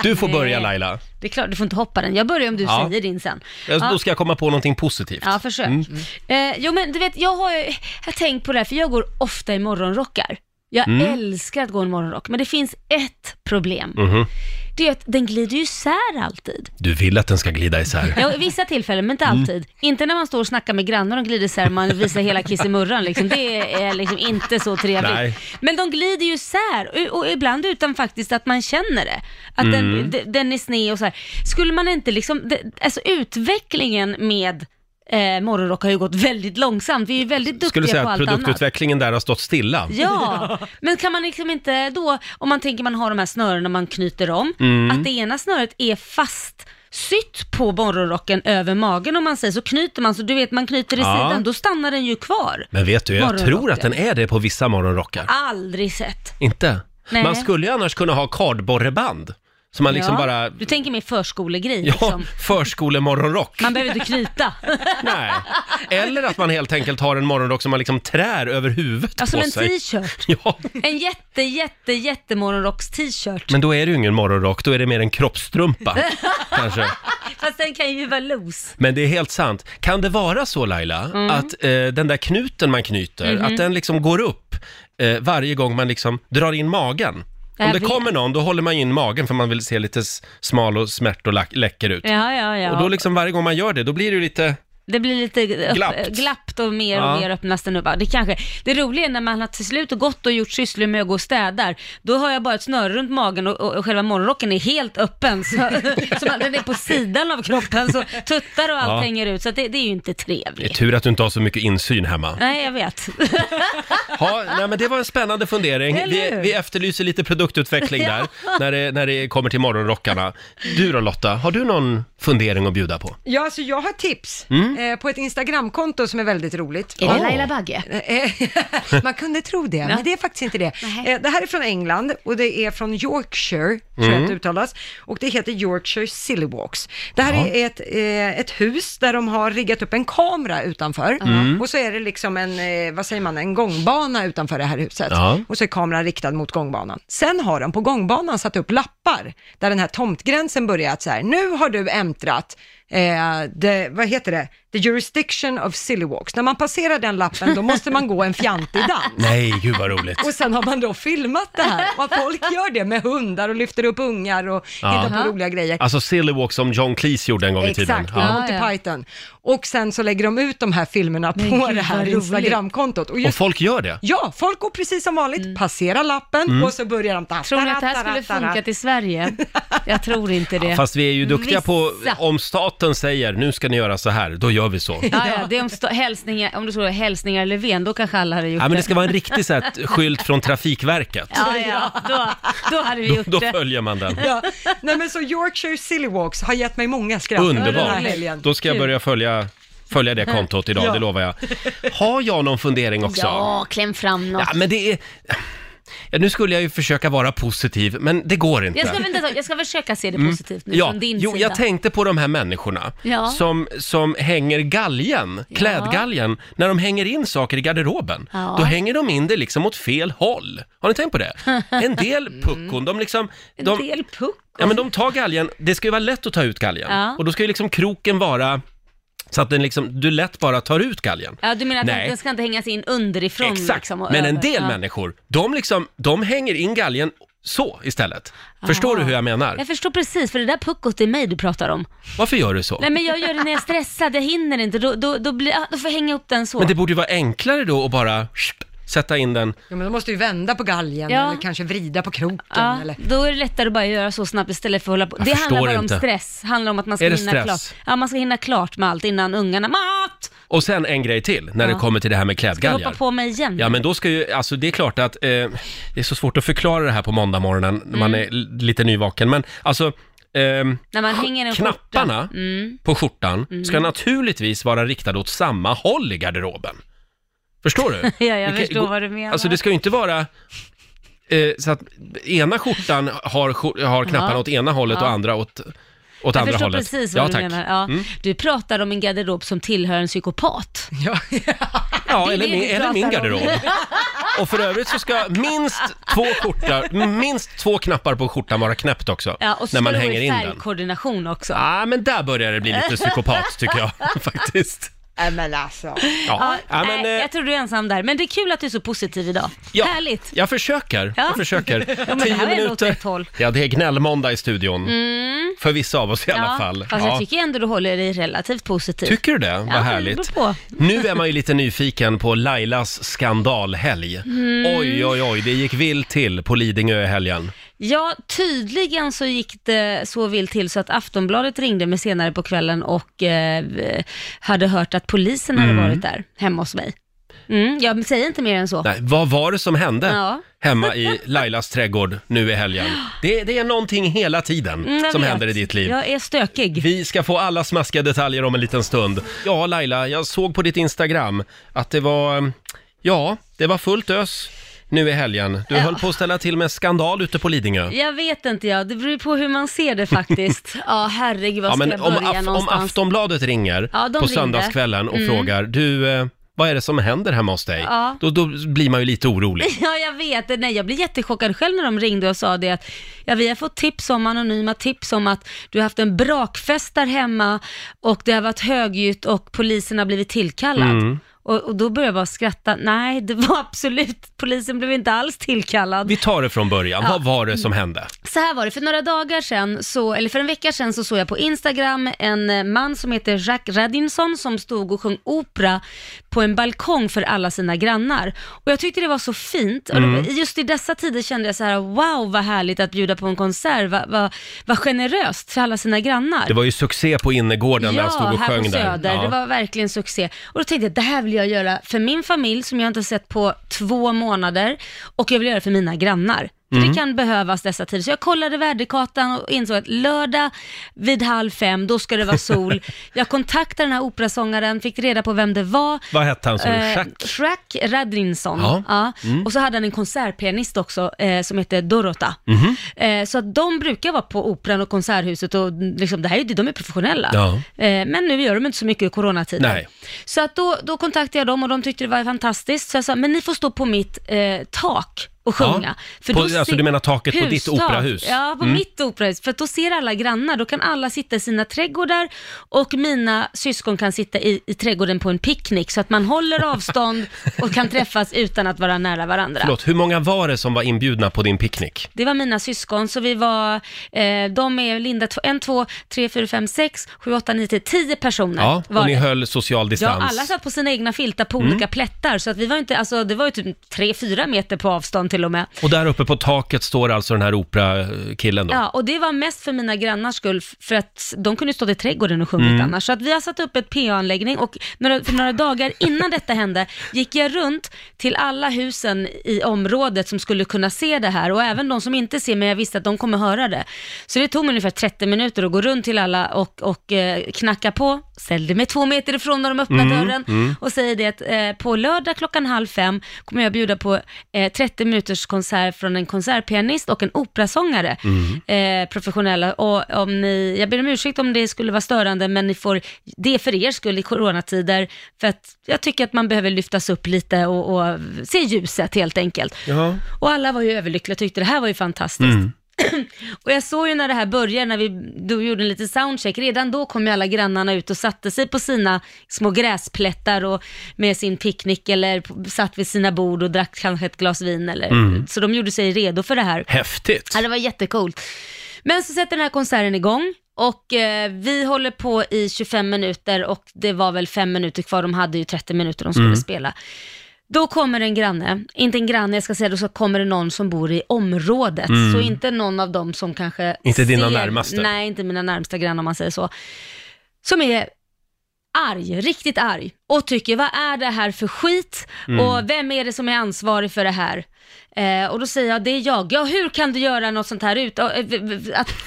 Speaker 1: Du får börja
Speaker 2: Nej.
Speaker 1: Laila.
Speaker 2: Det är klart, du får inte hoppa den. Jag börjar om du
Speaker 1: Ja.
Speaker 2: säger din sen.
Speaker 1: Jag,
Speaker 2: Ja.
Speaker 1: Då ska jag komma på någonting positivt. Mm.
Speaker 2: Ja, försök. Eh, jo, men du vet, jag har, jag har tänkt på det här, för jag går ofta i morgonrockar. Jag
Speaker 1: Mm.
Speaker 2: älskar att gå i en morgonrock, men det finns ett problem. Det är att den glider ju isär alltid.
Speaker 1: Mhm. Du vill att den ska glida isär.
Speaker 2: Ja, i vissa tillfällen, men inte
Speaker 1: Mm.
Speaker 2: alltid. Inte när man står och snackar med grannar och de glider isär och man visar hela kissemurran. Liksom. Det är liksom inte så trevligt.
Speaker 1: Nej.
Speaker 2: Men de glider ju isär och, och ibland utan faktiskt att man känner det. Att
Speaker 1: Mm.
Speaker 2: den, d- den är sned och så här. Skulle man inte liksom, det, alltså utvecklingen med Eh, morgonrock har ju gått väldigt långsamt. Vi är ju väldigt duktiga
Speaker 1: Skulle säga
Speaker 2: på
Speaker 1: att
Speaker 2: allt annat.
Speaker 1: produktutvecklingen där har stått stilla.
Speaker 2: Ja, men kan man liksom inte då, om man tänker man har de här snörena man knyter om,
Speaker 1: Mm.
Speaker 2: att det ena snöret är fast sytt på morgonrocken över magen om man säger så knyter man så du vet man knyter i
Speaker 1: Ja.
Speaker 2: sidan då stannar den ju kvar.
Speaker 1: Men vet du, jag
Speaker 2: Morgonrocken.
Speaker 1: tror att den är det på vissa morgonrockar.
Speaker 2: Aldrig sett.
Speaker 1: Inte?
Speaker 2: Ah. Nej.
Speaker 1: Man skulle ju annars kunna ha kardborreband. Så man liksom
Speaker 2: Ja.
Speaker 1: bara...
Speaker 2: Du tänker mer förskolegrej
Speaker 1: Ja,
Speaker 2: liksom.
Speaker 1: förskolemorgonrock.
Speaker 2: Man behöver inte knyta.
Speaker 1: Nej. Eller att man helt enkelt har en morgonrock som man liksom trär över huvudet
Speaker 2: Ja, som
Speaker 1: på
Speaker 2: en
Speaker 1: sig.
Speaker 2: t-shirt.
Speaker 1: Ja,
Speaker 2: En jätte, jätte, jätte morgonrocks-t-shirt.
Speaker 1: men då är det ju ingen morgonrock, då är det mer en kroppstrumpa kanske.
Speaker 2: Fast den kan ju vara loose.
Speaker 1: Men det är helt sant. Kan det vara så Laila,
Speaker 2: Mm.
Speaker 1: att eh, den där knuten man knyter,
Speaker 2: Mhm.
Speaker 1: att den liksom går upp eh, varje gång man liksom drar in magen? Om
Speaker 2: Jag
Speaker 1: det
Speaker 2: vet.
Speaker 1: kommer någon, då håller man in magen för man vill se lite s- smal och smärt och lack- läcker ut.
Speaker 2: Ja, ja, ja.
Speaker 1: Och då liksom varje gång man gör det, då blir det ju lite...
Speaker 2: Det blir lite upp,
Speaker 1: Glappt.
Speaker 2: glappt. och mer och
Speaker 1: Ja.
Speaker 2: mer öppnas den upp. Ja, Det, kanske. det roliga är när man har till slut gått och gjort sysslor med att gå och städar, då har jag bara ett snöre runt magen och, och, och själva morgonrocken är helt öppen. Så, så man, den är på sidan av kroppen, så tuttar och allt
Speaker 1: Ja.
Speaker 2: hänger ut. Så att det, det är ju inte
Speaker 1: Det är
Speaker 2: trevligt.
Speaker 1: tur att du inte har så mycket insyn hemma.
Speaker 2: Nej, jag vet.
Speaker 1: Ja, nej, men det var en spännande fundering.
Speaker 2: Eller
Speaker 1: Vi,
Speaker 2: hur?
Speaker 1: vi efterlyser lite produktutveckling där, när det, när det kommer till morgonrockarna. Du då Lotta, har du någon fundering att bjuda på?
Speaker 3: Ja, alltså jag har tips eh, på ett Instagramkonto som är väldigt roligt.
Speaker 1: Är det Oh. Laila
Speaker 2: Bagge?
Speaker 3: Eh, Man kunde tro det, men det är faktiskt inte det.
Speaker 2: Nej.
Speaker 3: Eh, Det här är från England och det är från Yorkshire, tror jag att det uttalas. Och det heter Yorkshire Silly Walks. Det här är ett, eh, ett hus där de har riggat upp en kamera utanför. Och så är det liksom en, eh, vad säger man, en gångbana utanför det här huset.
Speaker 1: Ja.
Speaker 3: Och så är kameran riktad mot gångbanan. Sen har de på gångbanan satt upp lappar där den här tomtgränsen börjar att så här, nu har du äntrat eh, det, vad heter det, the jurisdiction of silly walks. När man passerar den lappen då måste man gå en fjantig dans.
Speaker 1: Nej, gud vad roligt.
Speaker 3: Och sen har man då filmat det här och att folk gör det med hundar och lyfter upp ungar och hittar på roliga grejer.
Speaker 1: Alltså Silly Walk som John Cleese gjorde en gång i tiden.
Speaker 3: Exakt, med
Speaker 1: Ja.
Speaker 3: Monty
Speaker 2: Ja, ja.
Speaker 3: Python. Och sen så lägger de ut de här filmerna
Speaker 2: Men
Speaker 3: på
Speaker 2: gud,
Speaker 3: det här
Speaker 2: vad roligt.
Speaker 3: Instagramkontot. Och
Speaker 1: Och
Speaker 3: just
Speaker 1: folk gör det. Mm.
Speaker 3: Ja, folk går precis som vanligt, passerar lappen och så börjar de... ta-
Speaker 2: Mm. Tror ni att det här skulle funkat i Sverige? Jag tror inte det. Mm.
Speaker 1: Fast vi är ju duktiga på,
Speaker 2: Vissa.
Speaker 1: om staten säger nu ska ni göra så här, då gör vi så.
Speaker 2: Ja, ja, det är om, stå, hälsningar, om du tror hälsningar Löfven, då kanske alla hade gjort
Speaker 1: Ja, men det
Speaker 2: det.
Speaker 1: ska vara en riktig så här, skylt från Trafikverket.
Speaker 2: Ja, ja, då, då hade vi gjort
Speaker 1: Då
Speaker 2: det.
Speaker 1: följer man den.
Speaker 3: Ja. Nej men så Yorkshire Silly Walks har gett mig många skratt den här
Speaker 1: Underbart.
Speaker 3: helgen.
Speaker 1: Då ska jag börja följa, följa det kontot idag, det lovar jag. Har jag någon fundering också?
Speaker 2: Ja, kläm fram något.
Speaker 1: Ja, men det är... Ja, nu skulle jag ju försöka vara positiv, men det går inte.
Speaker 2: Jag ska, vänta, jag ska försöka se det positivt nu
Speaker 1: Mm. Ja,
Speaker 2: från din
Speaker 1: jo,
Speaker 2: sida.
Speaker 1: jag tänkte på de här människorna
Speaker 2: Ja.
Speaker 1: som, som hänger galgen, klädgalgen, när de hänger in saker i garderoben.
Speaker 2: Ja.
Speaker 1: Då hänger de in det liksom åt fel håll. Har ni tänkt på det? En del puckon, de liksom...
Speaker 2: Mm. En
Speaker 1: De,
Speaker 2: del puck.
Speaker 1: ja, men de tar galgen, det ska ju vara lätt att ta ut galgen.
Speaker 2: Ja.
Speaker 1: Och då ska ju liksom kroken vara så att den liksom, du lätt bara tar ut galgen.
Speaker 2: Ja, du menar att
Speaker 1: Nej.
Speaker 2: den ska inte hängas in underifrån
Speaker 1: Exakt,
Speaker 2: liksom, och
Speaker 1: men en
Speaker 2: över.
Speaker 1: del
Speaker 2: ja.
Speaker 1: människor, de, liksom, de hänger in galgen så istället. Förstår du hur jag menar?
Speaker 2: Jag förstår precis, för det där puckot är mig du pratar om.
Speaker 1: Varför gör du så?
Speaker 2: Nej men jag gör det när jag är stressad, jag hinner inte, då, då, då, blir, ah, då får jag hänga upp den så.
Speaker 1: Men det borde ju vara enklare då att bara sht, sätta in den.
Speaker 3: Ja, men då måste du ju vända på galgen
Speaker 2: Ja.
Speaker 3: eller kanske vrida på kroken.
Speaker 2: Ja,
Speaker 3: Eller...
Speaker 2: då är det lättare att bara göra så snabbt istället för att hålla på.
Speaker 1: Jag
Speaker 2: det handlar
Speaker 1: förstår
Speaker 2: bara om
Speaker 1: inte.
Speaker 2: stress, handlar om att man ska
Speaker 1: Är det
Speaker 2: hinna
Speaker 1: stress?
Speaker 2: klart. Ja, man ska hinna klart med allt innan ungarna, mat!
Speaker 1: Och sen en grej till när det
Speaker 2: Ja.
Speaker 1: kommer till det här med
Speaker 2: Ska du hoppa
Speaker 1: klädgalgar.
Speaker 2: på mig igen?
Speaker 1: Ja men då ska ju, alltså det är klart att eh, det är så svårt att förklara det här på måndag morgonen när man är l- lite nyvaken. Men alltså, ehm,
Speaker 2: Mm. När man hänger en skjorta. Mm.
Speaker 1: knapparna på skjortan ska naturligtvis vara riktade åt samma håll i garderoben. Förstår du?
Speaker 2: Ja, jag
Speaker 1: Det kan-
Speaker 2: förstår
Speaker 1: gå-
Speaker 2: vad du menar.
Speaker 1: Alltså det ska ju inte vara eh, så att ena skjortan har, skjor- har knapparna
Speaker 2: Ja.
Speaker 1: åt ena hållet
Speaker 2: Ja.
Speaker 1: och andra åt... åt
Speaker 2: jag
Speaker 1: andra
Speaker 2: förstår
Speaker 1: hållet.
Speaker 2: precis vad
Speaker 1: ja,
Speaker 2: du
Speaker 1: tack. Mm.
Speaker 2: menar. Ja. Du pratar om en garderob som tillhör en psykopat.
Speaker 3: Ja.
Speaker 1: Ja,
Speaker 2: Det är
Speaker 1: eller
Speaker 2: det
Speaker 1: min,
Speaker 2: vi
Speaker 1: eller min
Speaker 2: pratar om.
Speaker 1: garderob. Och för övrigt så ska minst två, skjortar, minst två knappar på skjortan vara knäppt också.
Speaker 2: Ja, och så
Speaker 1: när man
Speaker 2: ska det vara
Speaker 1: hänger
Speaker 2: i
Speaker 1: in den. Ah,
Speaker 2: färgkoordination också. Ja.
Speaker 1: Ja, men där börjar det bli lite psykopat tycker jag faktiskt.
Speaker 3: men alltså.
Speaker 1: Ja, ja,
Speaker 2: nej,
Speaker 1: men, eh,
Speaker 2: jag tror du är ensam där, men det är kul att du är så positiv idag.
Speaker 1: ja,
Speaker 2: Härligt!
Speaker 1: Jag försöker.
Speaker 2: Ja.
Speaker 1: Jag försöker.
Speaker 2: men det här är ändå åt rätt håll. Mm.
Speaker 1: Ja, det är gnällmåndag i studion. För vissa av oss i alla
Speaker 2: Ja,
Speaker 1: fall.
Speaker 2: Fast
Speaker 1: Ja.
Speaker 2: jag tycker ändå du håller dig relativt positiv.
Speaker 1: Tycker du det? Vad
Speaker 2: Ja, det
Speaker 1: härligt.
Speaker 2: beror på.
Speaker 1: Nu är man ju lite nyfiken på Lailas skandalhelg.
Speaker 2: Mm.
Speaker 1: Oj, oj, oj, det gick vilt till på Lidingö i helgen.
Speaker 2: Ja, tydligen så gick det så vill till så att Aftonbladet ringde mig senare på kvällen och eh, hade hört att polisen hade
Speaker 1: Mm.
Speaker 2: varit där hemma hos mig. Mm, jag säger inte mer än så.
Speaker 1: Nej, vad var det som hände
Speaker 2: Ja.
Speaker 1: hemma i Lailas trädgård nu i helgen? Det, det är någonting hela tiden
Speaker 2: Mm, jag
Speaker 1: som
Speaker 2: vet.
Speaker 1: händer i ditt liv.
Speaker 2: Jag är stökig.
Speaker 1: Vi ska få alla smaskiga detaljer om en liten stund. Ja, Laila, jag såg på ditt Instagram att det var, ja, det var fullt ös nu i helgen. Du höll på att ställa till med skandal ute på Lidingö.
Speaker 2: Jag vet inte jag, det beror på hur man ser det faktiskt. ja, herregud, var
Speaker 1: Ja,
Speaker 2: ska
Speaker 1: men
Speaker 2: jag
Speaker 1: om,
Speaker 2: börja
Speaker 1: Af- om
Speaker 2: någonstans?
Speaker 1: Aftonbladet ringer
Speaker 2: Ja, de
Speaker 1: på
Speaker 2: ringde.
Speaker 1: söndagskvällen och frågar, du, eh, vad är det som händer hemma hos dig?
Speaker 2: Ja.
Speaker 1: Då, då blir man ju lite orolig.
Speaker 2: Ja, jag vet. Nej, jag blev jättechockad själv när de ringde och sa det att ja, vi har fått tips om, anonyma tips om att du har haft en brakfest där hemma och det har varit högljutt och polisen har blivit tillkallad.
Speaker 1: Mm.
Speaker 2: Och, och då började jag bara skratta. Nej, det var absolut, polisen blev inte alls tillkallad.
Speaker 1: Vi tar det från början, vad var det som hände?
Speaker 2: Så här var det, för några dagar sedan, så, eller för en vecka sedan så såg jag på Instagram en eh, man som heter Jacques Radinson som stod och sjöng opera på en balkong för alla sina grannar. Och jag tyckte det var så fint. Och
Speaker 1: Mm.
Speaker 2: det, just i dessa tider kände jag så här, wow vad härligt att bjuda på en konsert, vad va, vad generöst för alla sina grannar.
Speaker 1: Det var ju succé på innergården där han stod och
Speaker 2: här
Speaker 1: sjöng
Speaker 2: på
Speaker 1: där.
Speaker 2: Söder.
Speaker 1: Ja.
Speaker 2: Det var verkligen succé. Och då tänkte jag, det här vill jag göra för min familj som jag inte har sett på två månader och jag vill göra för mina grannar. För
Speaker 1: Mm.
Speaker 2: det kan behövas dessa tider. Så jag kollade väderkartan och insåg att lördag vid halv fem, då ska det vara sol. jag kontaktade den här operasångaren, fick reda på vem det var.
Speaker 1: Vad hette han som
Speaker 2: Eh,
Speaker 1: Jack?
Speaker 2: Shrak Radrinson.
Speaker 1: Ja. Mm.
Speaker 2: Ja. Och så hade han en konsertpianist också eh, som heter Dorota.
Speaker 1: Mm-hmm.
Speaker 2: Eh, så att de brukar vara på Operan och Konserthuset och liksom, det här är, ju- de är professionella.
Speaker 1: Ja.
Speaker 2: Eh, men nu gör de inte så mycket i coronatiden.
Speaker 1: Nej.
Speaker 2: Så att då, då kontaktade jag dem och de tyckte det var fantastiskt. Så jag sa, men ni får stå på mitt eh, tak och
Speaker 1: Ja.
Speaker 2: sjunga.
Speaker 1: På-
Speaker 2: då
Speaker 1: alltså,
Speaker 2: ser-
Speaker 1: du menar taket på ditt
Speaker 2: Hustak.
Speaker 1: operahus? Mm.
Speaker 2: Ja, på mitt operahus. För att då ser alla grannar, då kan alla sitta i sina trädgårdar och mina syskon kan sitta i, i trädgården på en picknick så att man håller avstånd och kan träffas utan att vara nära varandra.
Speaker 1: Förlåt, hur många var det som var inbjudna på din picknick?
Speaker 2: Det var mina syskon, så vi var, eh, de är Linda 1, 2, 3, 4, 5, 6, 7, 8, 9, 10, 10 personer
Speaker 1: Ja,
Speaker 2: var
Speaker 1: och ni Mm.
Speaker 2: det.
Speaker 1: höll social
Speaker 2: Ja,
Speaker 1: distans.
Speaker 2: alla satt på sina egna filtar på olika plättar, så att vi var inte, alltså det var ju typ 3-4 meter på avstånd till och med.
Speaker 1: Och där uppe på taket står alltså den här operakillen då?
Speaker 2: Ja, och det var mest för mina grannars skull, f- för att de kunde stå i trädgården och sjungit annars. Så att vi har satt upp ett PA-anläggning och några, för några dagar innan detta hände gick jag runt till alla husen i området som skulle kunna se det här och även de som inte ser, men jag visste att de kommer höra det. Så det tog mig ungefär 30 minuter att gå runt till alla och, och eh, knacka på, ställde mig två meter ifrån när de öppnade dörren och säger det att eh, på lördag klockan halv fem kommer jag bjuda på eh, 30 minuters konsert från en konsertpianist och en operasångare,
Speaker 1: Mm.
Speaker 2: eh, professionella. Och om ni, jag ber om ursäkt om det skulle vara störande, men ni får, det är för er skull i coronatider, för att jag tycker att man behöver lyftas upp lite och, och se ljuset helt enkelt.
Speaker 1: Ja.
Speaker 2: Och alla var ju överlyckliga och tyckte det här var ju fantastiskt.
Speaker 1: Mm.
Speaker 2: Och jag såg ju när det här började, när vi då gjorde en liten soundcheck, redan då kom ju alla grannarna ut och satte sig på sina små gräsplättar och med sin picknick eller på- satt vid sina bord och drack kanske ett glas vin eller, så de gjorde sig redo för det här.
Speaker 1: Häftigt!
Speaker 2: Ja, det var jättecoolt. Men så sätter den här konserten igång och eh, vi håller på i 25 minuter och det var väl 5 minuter kvar, de hade ju 30 minuter de skulle spela. Då kommer en granne, inte en granne, jag ska säga då så kommer det någon som bor i området. Så inte någon av dem som kanske...
Speaker 1: Mm. Inte dina närmaste.
Speaker 2: Nej, inte mina närmsta grannar om man säger så. Som är arg, riktigt arg och tycker vad är det här för skit
Speaker 1: Mm.
Speaker 2: och vem är det som är ansvarig för det här? Eh, och då säger jag, det är jag. Ja, hur kan du göra något sånt här ut? Och, eh, v- v- Att,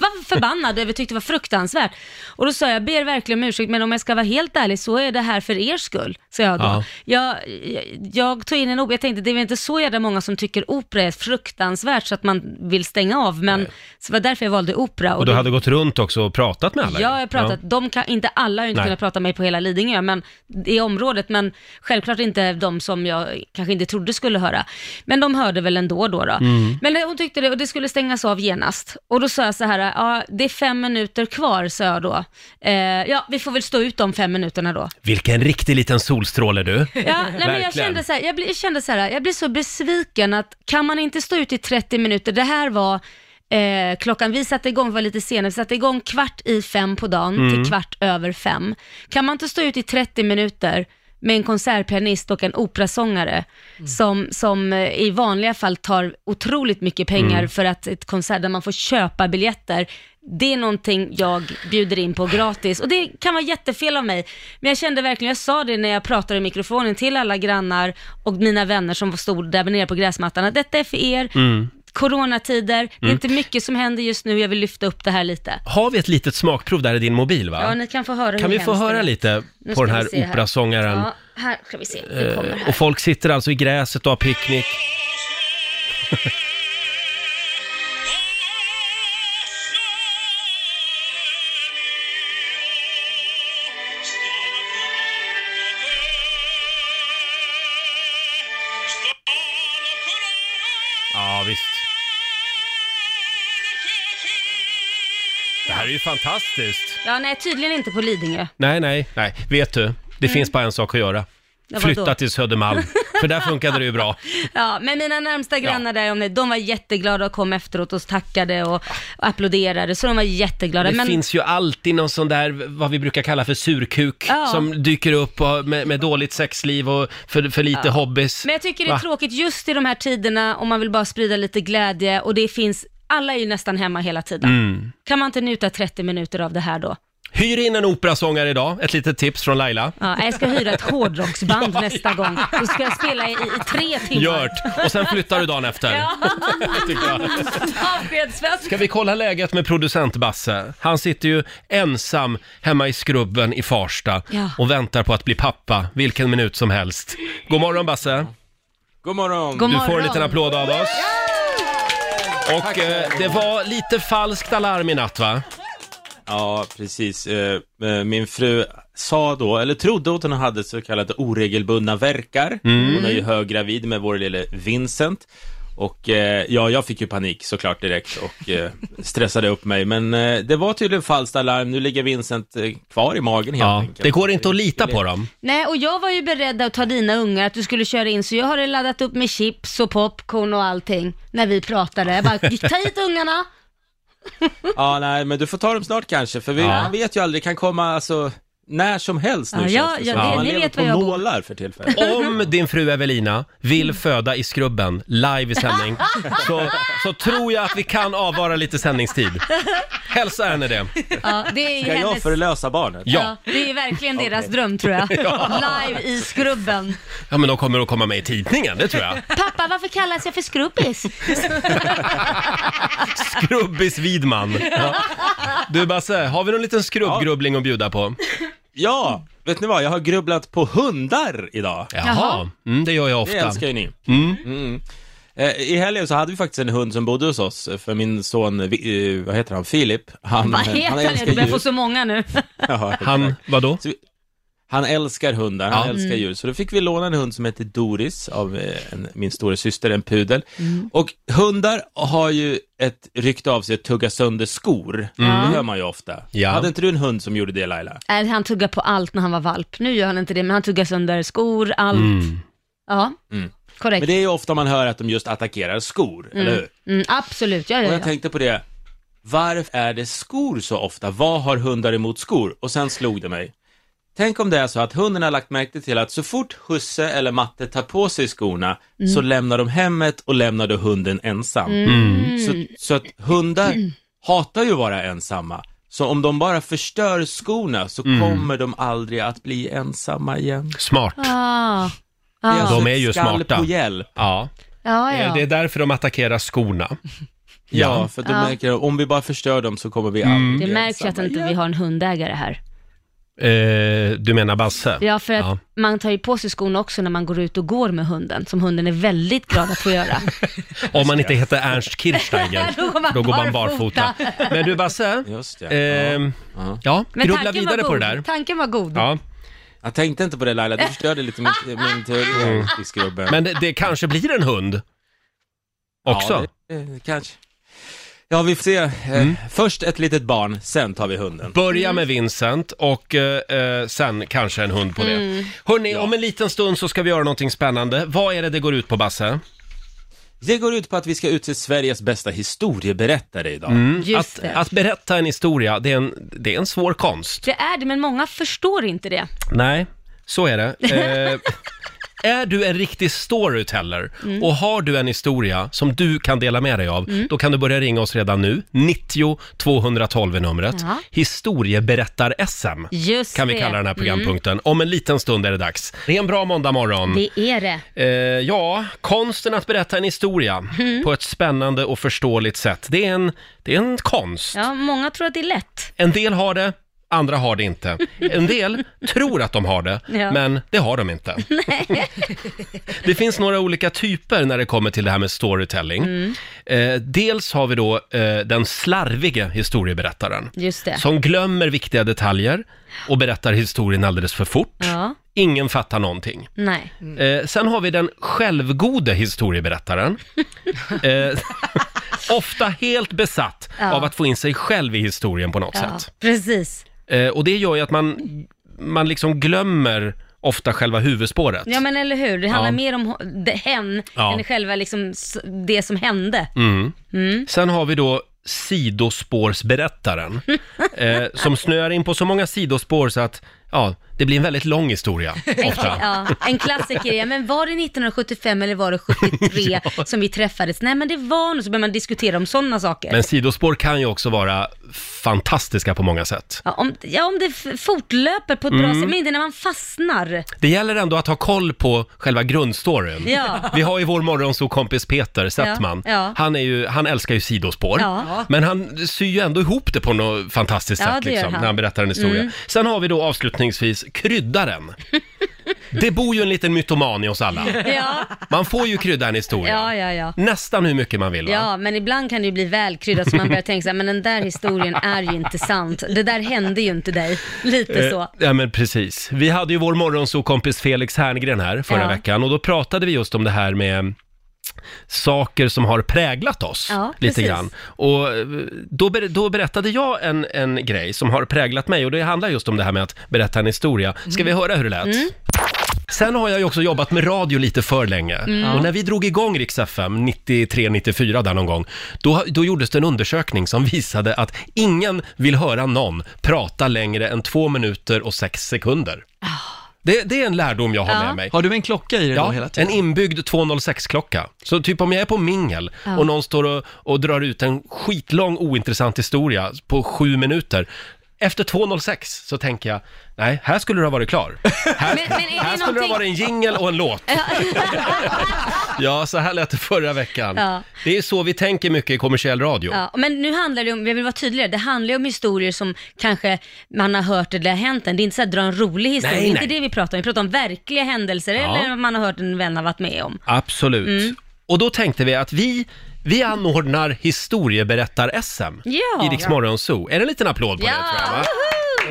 Speaker 2: var förbannad över, tyckte det var fruktansvärt. Och då sa jag, ber verkligen om ursäkt, men om jag ska vara helt ärlig så är det här för er skull, sa jag då.
Speaker 1: Ja.
Speaker 2: Jag, jag, jag tog in en opera, jag tänkte det är väl inte så jävla många som tycker opera är fruktansvärt så att man vill stänga av, men så det var därför jag valde opera.
Speaker 1: Och du
Speaker 2: det-
Speaker 1: hade gått runt också och pratat med alla?
Speaker 2: Ja, jag har pratat. De kan, inte alla har ju inte
Speaker 1: Nej.
Speaker 2: kunnat prata med mig på hela Lidingö, men i området, men självklart inte de som jag kanske inte trodde skulle höra. Men de hörde väl ändå då. då.
Speaker 1: Mm.
Speaker 2: Men hon tyckte det och det skulle stängas av genast. Och då sa jag så här, ja, det är fem minuter kvar, sa jag då. Eh, ja, vi får väl stå ut de fem minuterna då.
Speaker 1: Vilken riktig liten solstråle du.
Speaker 2: Ja, nej, men jag
Speaker 1: Verkligen.
Speaker 2: kände så här, jag, blir, jag kände så här, jag blir så besviken att kan man inte stå ut i 30 minuter, det här var Eh, klockan, vi satte igång, vi var lite senare, vi satte igång kvart i fem på dagen till kvart över fem. Kan man inte stå ut i 30 minuter med en konsertpianist och en operasångare
Speaker 1: Mm.
Speaker 2: som, som eh, i vanliga fall tar otroligt mycket pengar
Speaker 1: Mm.
Speaker 2: för att ett konsert där man får köpa biljetter, det är någonting jag bjuder in på gratis. Och det kan vara jättefel av mig, men jag kände verkligen, jag sa det när jag pratade i mikrofonen till alla grannar och mina vänner som stod där nere på gräsmattan, att detta är för er, coronatider, det är
Speaker 1: Mm.
Speaker 2: inte mycket som händer just nu, jag vill lyfta upp det här lite.
Speaker 1: Har vi ett litet smakprov där i din mobil va?
Speaker 2: Ja, ni kan få höra
Speaker 1: Kan
Speaker 2: hur
Speaker 1: vi få
Speaker 2: hemskt det
Speaker 1: höra
Speaker 2: är.
Speaker 1: lite
Speaker 2: Nu
Speaker 1: på
Speaker 2: ska
Speaker 1: den
Speaker 2: vi
Speaker 1: här
Speaker 2: se här.
Speaker 1: operasångaren? Eh,
Speaker 2: Ja, här ska vi se, det kommer
Speaker 1: Och
Speaker 2: här.
Speaker 1: folk sitter alltså i gräset och har picknick. Ja, visst. Det här är ju fantastiskt.
Speaker 2: Ja, nej, tydligen inte på Lidingö.
Speaker 1: Nej, nej, nej. Vet du, det finns bara en sak att göra.
Speaker 2: Ja, vadå?
Speaker 1: Flytta till Södermalm, för där funkade det ju bra.
Speaker 2: Ja, men mina närmsta grannar där om det, de var jätteglada och kom efteråt och tackade och applåderade, så de var jätteglada.
Speaker 1: Ah. Det
Speaker 2: men,
Speaker 1: finns ju alltid någon sån där, vad vi brukar kalla för surkuk,
Speaker 2: Ja.
Speaker 1: som dyker upp och med, med dåligt sexliv och för, för lite hobbys.
Speaker 2: men jag tycker det är
Speaker 1: Va?
Speaker 2: tråkigt just i de här tiderna om man vill bara sprida lite glädje och det finns, alla är ju nästan hemma hela tiden.
Speaker 1: Mm.
Speaker 2: Kan man inte njuta 30 minuter av det här då?
Speaker 1: Hyr in en operasångare idag, ett litet tips från Laila.
Speaker 2: Ja, jag ska hyra ett hårdrocksband nästa gång. Då ska jag spela i, i tre timmar.
Speaker 1: Gjort! Och sen flyttar du dagen efter.
Speaker 2: Ja.
Speaker 1: tycker jag.
Speaker 2: Avskedsfest.
Speaker 1: Ska vi kolla läget med producent Basse? Han sitter ju ensam hemma i skrubben i Farsta
Speaker 2: Ja.
Speaker 1: och väntar på att bli pappa vilken minut som helst. God morgon Basse!
Speaker 7: God morgon!
Speaker 2: God
Speaker 1: Du
Speaker 2: morgon.
Speaker 1: får en liten applåd av oss. Och eh, det var lite falskt alarm i natt va?
Speaker 7: Ja, precis. Eh, eh, Min fru sa då, eller trodde att hon hade så kallade oregelbundna verkar.
Speaker 1: Mm.
Speaker 7: Hon är ju höggravid med vår lille Vincent. Och eh, ja, jag fick ju panik såklart direkt och eh, stressade upp mig. Men eh, det var tydligen falskt alarm. Nu ligger Vincent eh, kvar i magen helt
Speaker 1: Ja,
Speaker 7: enkelt.
Speaker 1: det går inte att lita på dem.
Speaker 2: Nej, och jag var ju beredd att ta dina ungar, att du skulle köra in, så jag har laddat upp med chips och popcorn och allting när vi pratade. Jag bara, ta hit ungarna!
Speaker 7: Ja, nej, men du får ta dem snart kanske, för vi
Speaker 1: Ja.
Speaker 7: man vet ju aldrig, kan komma alltså när som helst nu
Speaker 2: Ja,
Speaker 7: känns
Speaker 2: ja,
Speaker 7: det
Speaker 2: ja,
Speaker 7: som.
Speaker 2: det-
Speaker 7: Man
Speaker 2: ni
Speaker 7: lever
Speaker 2: vet
Speaker 7: på
Speaker 2: var jag bor. Mm.
Speaker 7: nålar för tillfället.
Speaker 1: Om din fru Evelina vill föda i skrubben live i sändning så, så tror jag att vi kan avvara lite sändningstid. Hälsa henne det.
Speaker 2: Ja, det är ju
Speaker 7: Ska jag
Speaker 2: hennes...
Speaker 7: förlösa barnet?
Speaker 1: Ja.
Speaker 2: det är verkligen deras dröm tror jag. Live i skrubben.
Speaker 1: Ja, men de kommer att komma med i tidningen, det tror jag.
Speaker 2: Pappa, varför kallas jag för skrubbis?
Speaker 1: Skrubbis Widman. Ja. Du Basse, har vi någon liten skrubbgrubbling att bjuda på?
Speaker 7: Ja, vet ni vad? Jag har grubblat på hundar idag.
Speaker 1: Jaha, mm, det gör jag
Speaker 7: Det
Speaker 1: ofta.
Speaker 7: älskar ju ni. Mm. Eh, I helgen så hade vi faktiskt en hund som bodde hos oss, eh, för min son, eh, Vi- eh, vad heter han, Filip? Han,
Speaker 2: Vad heter det? Du börjar få så många nu.
Speaker 7: Ja, exakt.
Speaker 1: Han, vadå?
Speaker 7: Så vi- han älskar hundar, han
Speaker 1: Ja.
Speaker 2: Mm.
Speaker 7: älskar djur. Så då fick vi låna en hund som heter Doris av eh, en, min stora syster, en pudel.
Speaker 2: Mm.
Speaker 7: Och hundar har ju ett rykte av sig att tugga sönder skor. Det hör man ju ofta.
Speaker 1: Ja.
Speaker 7: Hade inte du en hund som gjorde det Laila?
Speaker 2: Nej, han tuggade på allt när han var valp. Nu gör han inte det, men han tuggar sönder skor, allt.
Speaker 1: Mm.
Speaker 2: Ja,
Speaker 7: Mm.
Speaker 2: korrekt.
Speaker 7: Men det är ju ofta man hör att de just attackerar skor, eller hur?
Speaker 2: Mm, absolut, ja,
Speaker 7: Och
Speaker 2: ja,
Speaker 7: jag
Speaker 2: ja.
Speaker 7: tänkte på det, varför är det skor så ofta? Vad har hundar emot skor? Och sen slog det mig. Tänk om det är så att hunden har lagt märke till att så fort husse eller matte tar på sig skorna
Speaker 2: Mm.
Speaker 7: så lämnar de hemmet och lämnar då hunden ensam.
Speaker 2: Mm.
Speaker 7: Så, så att hundar hatar ju att vara ensamma. Så om de bara förstör skorna så kommer de aldrig att bli ensamma igen.
Speaker 1: Mm. Smart.
Speaker 2: Ah.
Speaker 7: Det
Speaker 2: Ah.
Speaker 7: alltså
Speaker 1: De är
Speaker 7: ett
Speaker 1: ju
Speaker 7: skall
Speaker 1: smarta.
Speaker 7: på hjälp.
Speaker 1: Ja,
Speaker 2: Ja,
Speaker 1: Eh, det är
Speaker 2: ja.
Speaker 1: därför de attackerar skorna.
Speaker 7: Ja, för då
Speaker 2: Ja.
Speaker 7: märker jag, om vi bara förstör dem så kommer vi
Speaker 2: Det
Speaker 1: Mm.
Speaker 7: aldrig
Speaker 2: märks ju att
Speaker 7: ensamma
Speaker 2: inte
Speaker 7: igen.
Speaker 2: vi har en hundägare här.
Speaker 1: Eh, du menar Basse?
Speaker 2: Ja, för att
Speaker 1: Ja.
Speaker 2: man tar ju på sig skorna också när man går ut och går med hunden, som hunden är väldigt glad att få göra.
Speaker 1: Om man inte heter Ernst Kirchsteiger,
Speaker 2: Då går man
Speaker 1: då går man
Speaker 2: barfota.
Speaker 1: barfota. Men du Basse,
Speaker 7: Just det. ja.
Speaker 1: ehm,
Speaker 7: Ja.
Speaker 1: ja,
Speaker 2: Men
Speaker 1: grubbla
Speaker 2: tanken
Speaker 1: vidare
Speaker 2: var
Speaker 1: på det
Speaker 2: god.
Speaker 1: där.
Speaker 2: Tanken var god.
Speaker 1: Ja,
Speaker 7: Jag tänkte inte på det Laila, du förstörde lite min, min teori om fiskgubben.
Speaker 1: Mm. men det, det kanske blir en hund också. Mm.
Speaker 7: Ja, det, eh, kanske. Ja, vi får se. Eh, Först ett litet barn, sen tar vi hunden.
Speaker 1: Börja
Speaker 2: Mm.
Speaker 1: med Vincent och eh, eh, sen kanske en hund på det.
Speaker 2: Mm.
Speaker 1: Hörni, om en liten stund så ska vi göra någonting spännande. Vad är det det går ut på, Basse?
Speaker 7: Det går ut på att vi ska utse Sveriges bästa historieberättare idag.
Speaker 2: Just
Speaker 1: Mm. att,
Speaker 2: det.
Speaker 1: att berätta en historia, det är en, det är en svår konst.
Speaker 2: Det är det, men många förstår inte det.
Speaker 1: Nej, så är det. Eh, är du en riktig storyteller
Speaker 2: Mm.
Speaker 1: och har du en historia som du kan dela med dig av, då kan du börja ringa oss redan nu. 90 212 är numret.
Speaker 2: Ja.
Speaker 1: Historieberättar-SM
Speaker 2: Just
Speaker 1: kan vi
Speaker 2: det. Mm.
Speaker 1: kalla den här programpunkten. Om en liten stund är det dags. Det är en bra måndagmorgon.
Speaker 2: Det är det.
Speaker 1: Eh, ja, konsten att berätta en historia
Speaker 2: Mm.
Speaker 1: på ett spännande och förståeligt sätt. Det är en, det är en konst.
Speaker 2: Ja, många tror att det är lätt.
Speaker 1: En del har det, andra har det inte. En del tror att de har det,
Speaker 2: Ja.
Speaker 1: men det har de inte. det finns några olika typer när det kommer till det här med storytelling.
Speaker 2: Mm.
Speaker 1: Eh, dels har vi då eh, den slarvige historieberättaren.
Speaker 2: Just det.
Speaker 1: Som glömmer viktiga detaljer och berättar historien alldeles för fort.
Speaker 2: Ja,
Speaker 1: Ingen fattar någonting.
Speaker 2: nej.
Speaker 1: Eh, sen har vi den självgode historieberättaren. eh, ofta helt besatt
Speaker 2: Ja.
Speaker 1: av att få in sig själv i historien på något
Speaker 2: Ja,
Speaker 1: sätt.
Speaker 2: precis.
Speaker 1: Eh, och det gör ju att man, man liksom glömmer ofta själva huvudspåret.
Speaker 2: Ja men eller hur, det handlar
Speaker 1: Ja.
Speaker 2: mer om ho- det- hen
Speaker 1: Ja.
Speaker 2: än själva liksom s- det som hände.
Speaker 1: Mm.
Speaker 2: Mm.
Speaker 1: Sen har vi då sidospårsberättaren eh, som snöar in på så många sidospår så att ja, det blir en väldigt lång historia ofta.
Speaker 2: Ja, en klassiker ja, men var det 1975 eller var det 73 som vi träffades? Nej men det var nog, så börjar man diskutera om sådana saker.
Speaker 1: Men sidospår kan ju också vara fantastiska på många sätt.
Speaker 2: Ja, om, ja, om det f- fortlöper på ett
Speaker 1: Mm.
Speaker 2: bra sätt, men inte när man fastnar.
Speaker 1: Det gäller ändå att ha koll på själva grundstoryn.
Speaker 2: Ja.
Speaker 1: Vi har ju vår morgonsåkompis Peter Settman.
Speaker 2: ja.
Speaker 1: Han, är ju, han älskar ju sidospår.
Speaker 2: Ja.
Speaker 1: Men han syr ju ändå ihop det på något fantastiskt
Speaker 2: Ja,
Speaker 1: sätt
Speaker 2: det gör
Speaker 1: liksom,
Speaker 2: han. Mm.
Speaker 1: när han berättar en historia. Sen har vi då avslutningsvis kryddaren. det bor ju en liten mytoman i oss alla.
Speaker 2: Ja,
Speaker 1: Man får ju krydda en historia.
Speaker 2: ja, ja. ja.
Speaker 1: Nästan hur mycket man vill va?
Speaker 2: Ja, men ibland kan det ju bli välkryddat så man börjar tänka så här, men den där historien är ju inte sant. Det där hände ju inte dig. Lite så.
Speaker 1: Eh, Ja men precis. Vi hade ju vår morgonsokompis Felix Herngren här förra
Speaker 2: Ja.
Speaker 1: veckan och då pratade vi just om det här med saker som har präglat oss
Speaker 2: Ja,
Speaker 1: lite
Speaker 2: precis.
Speaker 1: grann. Och eh, då, ber- då berättade jag en, en grej som har präglat mig och det handlar just om det här med att berätta en historia. Ska
Speaker 2: Mm.
Speaker 1: vi höra hur det lät? Sen har jag ju också jobbat med radio lite för länge. Och när vi drog igång Rix FM 93-94 där någon gång, då, då gjordes det en undersökning som visade att ingen vill höra någon prata längre än två minuter och sex sekunder. Det, det är en lärdom jag har
Speaker 2: Ja.
Speaker 1: med mig.
Speaker 8: Har du en klocka i dig då hela
Speaker 1: Ja, en
Speaker 8: tiden?
Speaker 1: inbyggd 206-klocka. Så typ om jag är på mingel och någon står och, och drar ut en skitlång ointressant historia på sju minuter. Efter 206 så tänker jag, nej, här skulle du ha varit klar. Här,
Speaker 2: Men- men är det
Speaker 1: här skulle det
Speaker 2: någonting-
Speaker 1: ha varit en jingle och en låt. ja, så här lät det förra veckan.
Speaker 2: Ja.
Speaker 1: Det är så vi tänker mycket i kommersiell radio.
Speaker 2: Ja, men nu handlar det om, jag vill vara tydligare, det handlar ju om historier som kanske man har hört eller har hänt en. Det är inte så att dra en rolig historia,
Speaker 1: Nej,
Speaker 2: det är inte
Speaker 1: nej.
Speaker 2: det vi pratar om. Vi pratar om verkliga händelser
Speaker 1: Ja.
Speaker 2: eller vad man har hört en vän har varit med om.
Speaker 1: Absolut.
Speaker 2: Mm.
Speaker 1: Och då tänkte vi att vi, vi anordnar historieberättar-SM
Speaker 2: Ja.
Speaker 1: i Rix Morgonzoo. Är det en liten applåd på det tror jag? Va?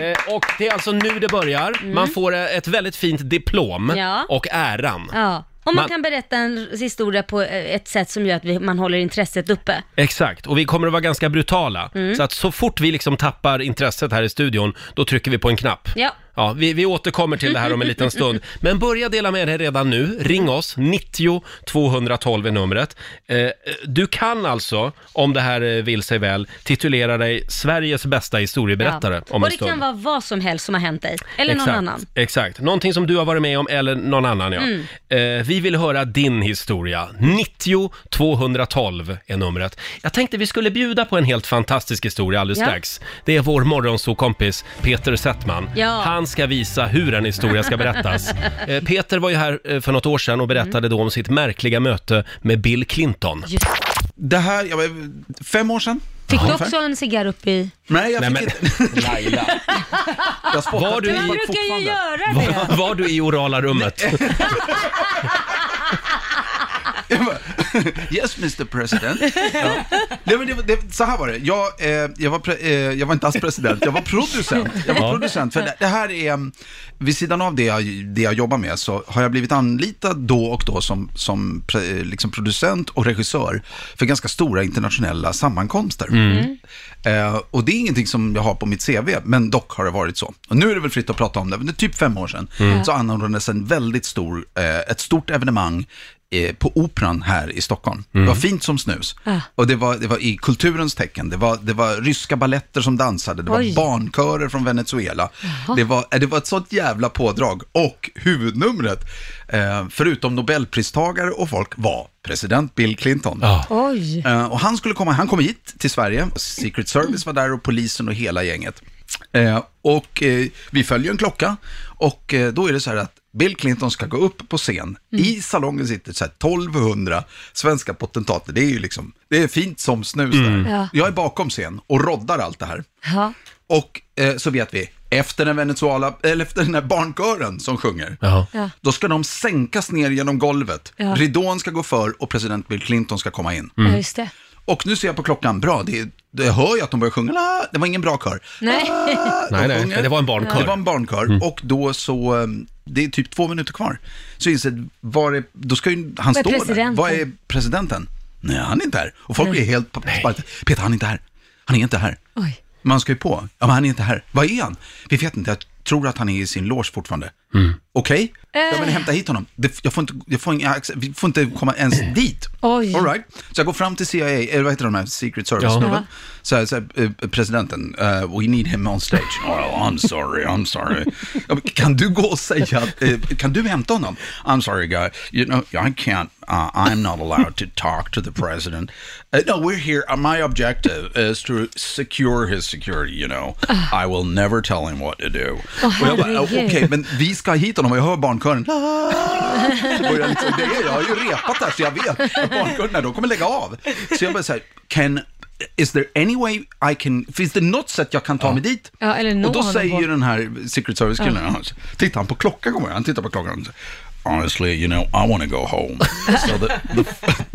Speaker 1: Eh, Och det är alltså nu det börjar. Man får eh, ett väldigt fint diplom
Speaker 2: Mm. Ja.
Speaker 1: och äran.
Speaker 2: Ja. Om man,
Speaker 1: Man-
Speaker 2: kan berätta en historia på eh, ett sätt som gör att vi, man håller intresset uppe.
Speaker 1: Exakt, och vi kommer att vara ganska brutala.
Speaker 2: Mm.
Speaker 1: Så att så fort vi liksom tappar intresset här i studion, då trycker vi på en knapp.
Speaker 2: Ja.
Speaker 1: Ja, vi, vi återkommer till det här om en liten stund. Men börja dela med dig redan nu. Ring oss, 90 212 är numret. Eh, du kan alltså, om det här eh, vill sig väl, titulera dig Sveriges bästa historieberättare
Speaker 2: ja.
Speaker 1: om
Speaker 2: Och
Speaker 1: en
Speaker 2: det
Speaker 1: stund.
Speaker 2: kan vara vad som helst som har hänt dig, eller
Speaker 1: Exakt,
Speaker 2: någon annan.
Speaker 1: Exakt, någonting som du har varit med om eller någon annan ja.
Speaker 2: Mm.
Speaker 1: Eh, vi vill höra din historia. 90 212 är numret. Jag tänkte vi skulle bjuda på en helt fantastisk historia alldeles
Speaker 2: Ja.
Speaker 1: strax. Det är vår morgonsokompis Peter Settman.
Speaker 2: Ja.
Speaker 1: Han ska visa hur en historia ska berättas. eh,
Speaker 2: Mm.
Speaker 1: Peter var ju här eh, för något år sedan och berättade då om sitt märkliga möte med Bill Clinton.
Speaker 8: det här, jag, var- fem år sedan.
Speaker 2: Fick du
Speaker 8: Ungefär.
Speaker 2: också en cigarr upp i?
Speaker 8: Nej, jag
Speaker 1: Nej,
Speaker 8: fick
Speaker 1: men-
Speaker 8: inte.
Speaker 7: Laila.
Speaker 8: Jag spottar
Speaker 1: Var du i-
Speaker 2: Man
Speaker 8: tobak
Speaker 2: brukar ju
Speaker 8: fortfarande.
Speaker 2: göra det.
Speaker 1: Var, var du i orala rummet?
Speaker 8: Jag bara, yes, Mr President. Ja. Nej, men det, var- det, så här var det, jag, eh, jag, var pre, eh, jag var inte alls president, jag var producent. Jag var
Speaker 1: Ja.
Speaker 8: producent, för det, det här är, mm, vid sidan av det jag, det jag jobbar med, så har jag blivit anlitad då och då som, som pre, eh, liksom producent och regissör för ganska stora internationella sammankomster.
Speaker 1: Mm.
Speaker 8: Eh, och det är ingenting som jag har på mitt CV, men dock har det varit så. Och nu är det väl fritt att prata om det, men det är typ fem år sedan, så anordnades en väldigt stor, eh, ett stort evenemang eh, på Operan här i Stockholm. Det var fint som snus. Och det var, det var i kulturens tecken. Det var, det var ryska balletter som dansade, det var
Speaker 2: Oj.
Speaker 8: barnkörer från Venezuela. Det var, eh, det var ett sånt jävla pådrag. Och huvudnumret, eh, förutom nobelpristagare och folk, var president Bill Clinton.
Speaker 1: Ja.
Speaker 2: Oj.
Speaker 8: Eh, och han skulle komma, han kom hit till Sverige, Secret Service var där och polisen och hela gänget. Eh, och eh, vi följer en klocka och eh, då är det så här att Bill Clinton ska gå upp på scen.
Speaker 2: Mm.
Speaker 8: I salongen sitter så här 1200 svenska potentater. Det är ju liksom, det är fint som snus där.
Speaker 2: Mm. Ja.
Speaker 8: Jag är bakom scen och roddar allt det här.
Speaker 2: Ja.
Speaker 8: Och eh, så vet vi, efter den, Venezuela, eller efter den här barnkören som sjunger,
Speaker 1: Ja.
Speaker 2: Ja.
Speaker 8: då ska de sänkas ner genom golvet.
Speaker 2: Ja. Mm.
Speaker 8: Ridån ska gå för och president Bill Clinton ska komma in.
Speaker 1: Mm.
Speaker 2: ja, just det.
Speaker 8: Och nu ser jag på klockan, bra, det, det jag hör ju att de börjar sjunga, la, det var ingen bra kör.
Speaker 2: Nej.
Speaker 8: Ah, de
Speaker 1: Nej, nej,
Speaker 8: sjunger.
Speaker 1: det var en barnkör. Mm.
Speaker 8: Det var en barnkör och då så, eh, det är typ två minuter kvar. Så inser jag, var är, då ska ju han
Speaker 2: Var är
Speaker 8: stå där.
Speaker 2: presidenten?
Speaker 8: Var är presidenten? Nej, han är inte här. Och folk blir helt sparkade. Peter, han är inte här. Han är inte här.
Speaker 2: Oj.
Speaker 8: Man ska ju på. Ja, men han är inte här. Var är han? Vi vet inte. Jag tror att han är i sin loge fortfarande. Okej? Ja,
Speaker 2: Eh.
Speaker 8: men hämta hit honom. Det, jag får inte, jag får, inga, access- vi får inte komma ens dit.
Speaker 2: Eh. Oj.
Speaker 8: All right. Så jag går fram till CIA, eller vad heter de här, Secret Service-snubben. Så här, så här, eh, presidenten, eh, we need him on stage. Oh, I'm sorry, I'm sorry. Ja, men kan du gå och säga, att, eh, kan du hämta honom? I'm sorry guy, you know, I can't, uh, I'm not allowed to talk to the president. Eh, no, we're here, uh, my objective is to secure his security, you know. I will never tell him what to do.
Speaker 2: Ah. Åh,
Speaker 8: Och jag bara, eh, Okej,
Speaker 2: herregud.
Speaker 8: men vi ska hit honom och jag hör barnkören.
Speaker 2: Eh.
Speaker 8: Och jag, liksom, det är, jag har ju repat här så jag vet att barnkunderna, de kommer lägga av. Så jag bara så här, can, is there any way I can, finns det något sätt jag kan ta mig dit?
Speaker 2: Ja, eller nå
Speaker 8: Och då
Speaker 2: honom
Speaker 8: säger
Speaker 2: på-
Speaker 8: ju den här Secret Service-killen, ja. tittar han på klockan kommer jag, han tittar på klockan och säger, Honestly, you know, I want to go home. So the, the,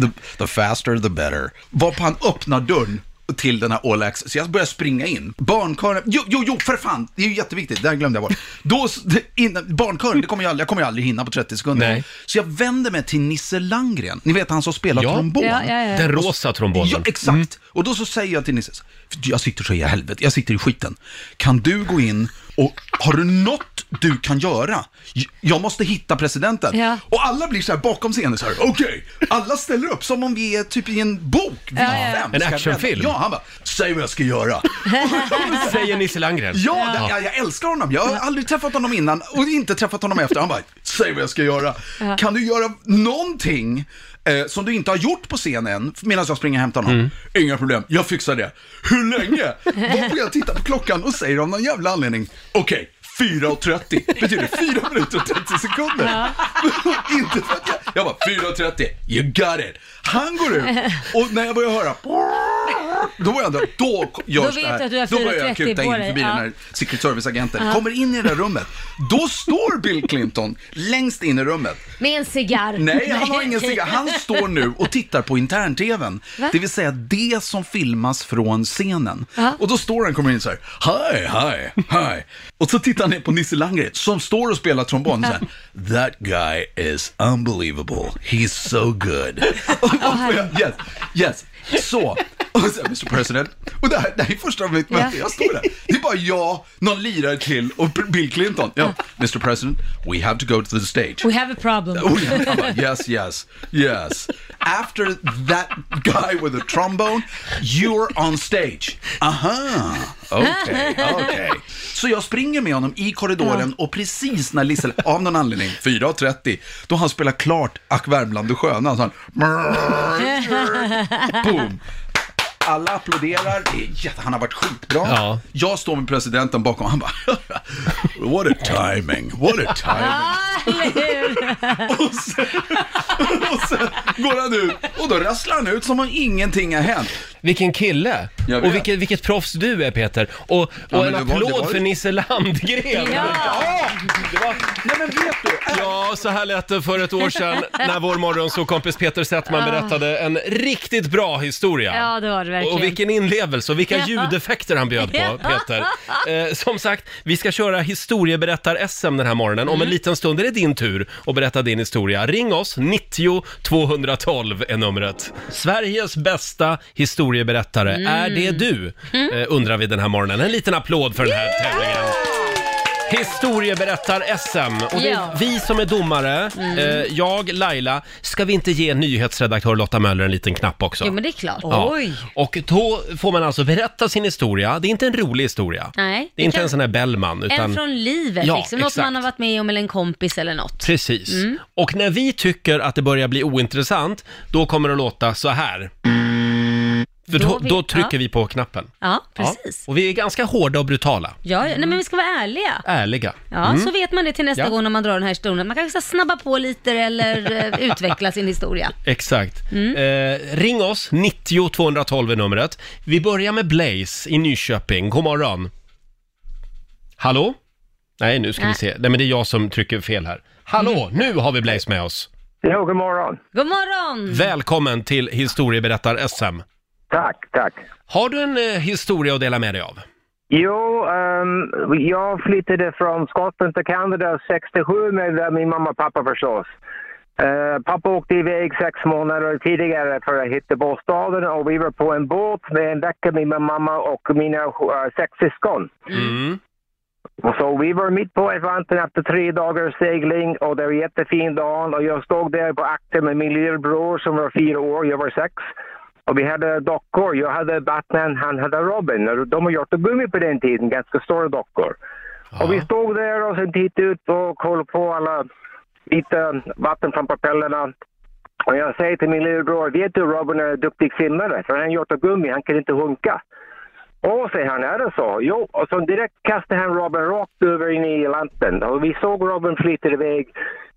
Speaker 8: the, the faster the better. Varpå han öppnar dörren till den här All Access. Så jag börjar springa in. Barnkören, jo, jo, jo, för fan, det är ju jätteviktigt, det här glömde jag bort. Då, s- det- innan, barnkören, det kommer jag aldrig, jag kommer jag aldrig hinna på 30 sekunder.
Speaker 1: Nej.
Speaker 8: Så jag vänder mig till Nisse Langgren, ni vet han som spelar
Speaker 1: Ja.
Speaker 8: trombon.
Speaker 2: Ja, ja, ja.
Speaker 1: Den rosa
Speaker 8: Ja,
Speaker 1: trombonen.
Speaker 8: exakt. Och då så säger jag till Nisse, "För jag sitter så i helvete, jag sitter i skiten. Kan du gå in och har du något du kan göra? J- Jag måste hitta presidenten.
Speaker 2: Ja.
Speaker 8: Och alla blir så här bakom scenen så här, okej. Alla ställer upp som om vi är typ i en bok. Vi fem
Speaker 1: En
Speaker 8: ska
Speaker 1: actionfilm.
Speaker 8: rädda- Ja, han bara, säg vad jag ska göra.
Speaker 1: Säger Nisse Landgren.
Speaker 8: Ja, det- Jag, jag älskar honom. Jag har aldrig träffat honom innan och inte träffat honom efter. Han bara, säg vad jag ska göra. Kan du göra någonting eh, som du inte har gjort på scenen medan jag springer och hämtar honom? Inga problem, jag fixar det. Hur länge? Varpå jag tittar på klockan och säger av någon jävla anledning, okej. 4.30 betyder 4 minuter och 30 sekunder. inte för att jag... Jag bara 4.30, you got it. Han går ut och när jag börjar höra... Då börjar jag... ändå- Då görs
Speaker 2: vet
Speaker 8: det här.
Speaker 2: du att du har
Speaker 8: då börjar
Speaker 2: 4.30
Speaker 8: jag kuta in
Speaker 2: på
Speaker 8: förbi
Speaker 2: dig.
Speaker 8: den här
Speaker 2: Ja.
Speaker 8: Secret Service-agenten, kommer in i det där rummet. Då står Bill Clinton längst in i rummet.
Speaker 2: Med en cigarr.
Speaker 8: Nej, han har ingen cigarr. Han står nu och tittar på intern-tvn.
Speaker 2: Va?
Speaker 8: Det vill säga det som filmas från scenen.
Speaker 2: Ja.
Speaker 8: Och då står han kommer in så här, hi, hi, hi. Och så tittar han ner på Nisse Landgren som står och spelar trombon så här, that guy is unbelievable, he's so good. Och då får jag, yes, yes, så. Och så, här, Mr President, och det här, det här är första mitt
Speaker 2: Ja.
Speaker 8: möte, jag står där. Det är bara jag, någon lirare till och Bill Clinton. Ja, Mr President, we have to go to the stage.
Speaker 2: We have a problem.
Speaker 8: Oh, yeah. I'm like, yes, yes, yes. After that guy with the trombone, you're on stage. Aha, okej, okej. Så jag springer med honom i korridoren och precis när Lissel, av någon anledning, 4.30, då han spelar klart Ack Värmland du sköna, så han... Boom! alla applåderar, det är jätte... han har varit skitbra.
Speaker 1: Ja.
Speaker 8: Jag står med presidenten bakom, han bara What a timing, what a timing.
Speaker 2: Eller hur?
Speaker 8: Och sen, och sen går han ut och då rasslar han ut som om ingenting har hänt.
Speaker 1: Vilken kille!
Speaker 8: Jag vet.
Speaker 1: Och vilket, vilket proffs du är Peter! Och, och
Speaker 8: men det
Speaker 1: en
Speaker 8: var- det
Speaker 1: applåd
Speaker 8: var-
Speaker 1: för Nisse Landgren!
Speaker 2: Ja.
Speaker 8: Det var, nej men vet du,
Speaker 1: Ja, så här lät det för ett år sedan när vår morgonsåkompis Peter Settman berättade en riktigt bra historia.
Speaker 2: ja, det var det verkligen.
Speaker 1: Och vilken inlevelse och vilka
Speaker 2: Ja.
Speaker 1: ljudeffekter han bjöd på,
Speaker 2: Ja.
Speaker 1: Peter. Eh, som sagt, vi ska köra historieberättar-SM den här morgonen.
Speaker 2: Mm.
Speaker 1: Om en liten stund är det din tur att berätta din historia. Ring oss, 90 212 är numret. Sveriges bästa historieberättare,
Speaker 2: Mm.
Speaker 1: är det du? Eh, undrar vi den här morgonen. En liten applåd för den här tävlingen. Historieberättar-SM. Och det
Speaker 2: Ja. Mm.
Speaker 1: är vi som är domare. Eh, jag, Laila. Ska vi inte ge nyhetsredaktör Lotta Möller en liten knapp också?
Speaker 2: Jo, men det är klart.
Speaker 1: Ja.
Speaker 9: Oj.
Speaker 1: Och då får man alltså berätta sin historia. Det är inte en rolig historia.
Speaker 2: Nej,
Speaker 1: det är
Speaker 2: det
Speaker 1: inte
Speaker 2: kan-
Speaker 1: en sån här Bellman. Utan...
Speaker 2: En från livet,
Speaker 1: Ja,
Speaker 2: liksom. något
Speaker 1: exakt.
Speaker 2: man har varit med om eller en kompis eller något.
Speaker 1: Precis.
Speaker 2: Mm.
Speaker 1: Och när vi tycker att det börjar bli ointressant, då kommer det att låta så här. För då,
Speaker 2: Då
Speaker 1: då,
Speaker 2: vi-
Speaker 1: trycker
Speaker 2: ja.
Speaker 1: vi på knappen.
Speaker 2: Ja,
Speaker 1: Ja.
Speaker 2: precis. Ja.
Speaker 1: Och vi är ganska hårda och brutala.
Speaker 2: nej, men vi ska vara ärliga.
Speaker 1: Ärliga.
Speaker 2: Ja, så vet man det till nästa
Speaker 1: Mm. Ja.
Speaker 2: gång när man drar den här historien. Man kanske ska snabba på lite eller eh, utveckla sin historia.
Speaker 1: Exakt.
Speaker 2: Mm.
Speaker 1: Eh, ring oss, 90 212 är numret. Vi börjar med Blaze i Nyköping. God morgon. Hallå? Nej, nu ska vi
Speaker 2: Nej. Mm.
Speaker 1: se. Nej, men det är jag som trycker fel här. Hallå, nu har vi Blaze med oss.
Speaker 10: Jo, god morgon.
Speaker 2: God morgon!
Speaker 1: Välkommen till Historieberättar-SM.
Speaker 10: Tack, tack.
Speaker 1: Har du en eh, historia att dela med dig av?
Speaker 10: Jo, ehm, jag flyttade från Skottland till Kanada 67 med eh, min mamma och pappa förstås. Eh, pappa åkte iväg sex månader tidigare för att hitta bostaden och vi var på en båt med en vecka med min mamma och mina eh, sex syskon.
Speaker 1: Mm.
Speaker 10: Så vi var mitt på Atlanten efter tre dagars segling och det var en jättefin dag och jag stod där på akten med min lillebror som var fyra år, jag var sex. Och vi hade dockor, jag hade Batman, han hade Robin. Och De var gjort av gummi på den tiden, ganska stora dockor. Och vi stod där och sen tittade ut och kollade på alla lite vatten från propellerna. Och jag säger till min lillebror, vet du Robin är en duktig simmare för han är gjort av gummi, han kan inte hunka. Åh, säger han, är det så? Jo, och så direkt kastade han Robin rakt över in i Atlanten. Och vi såg Robin flyta iväg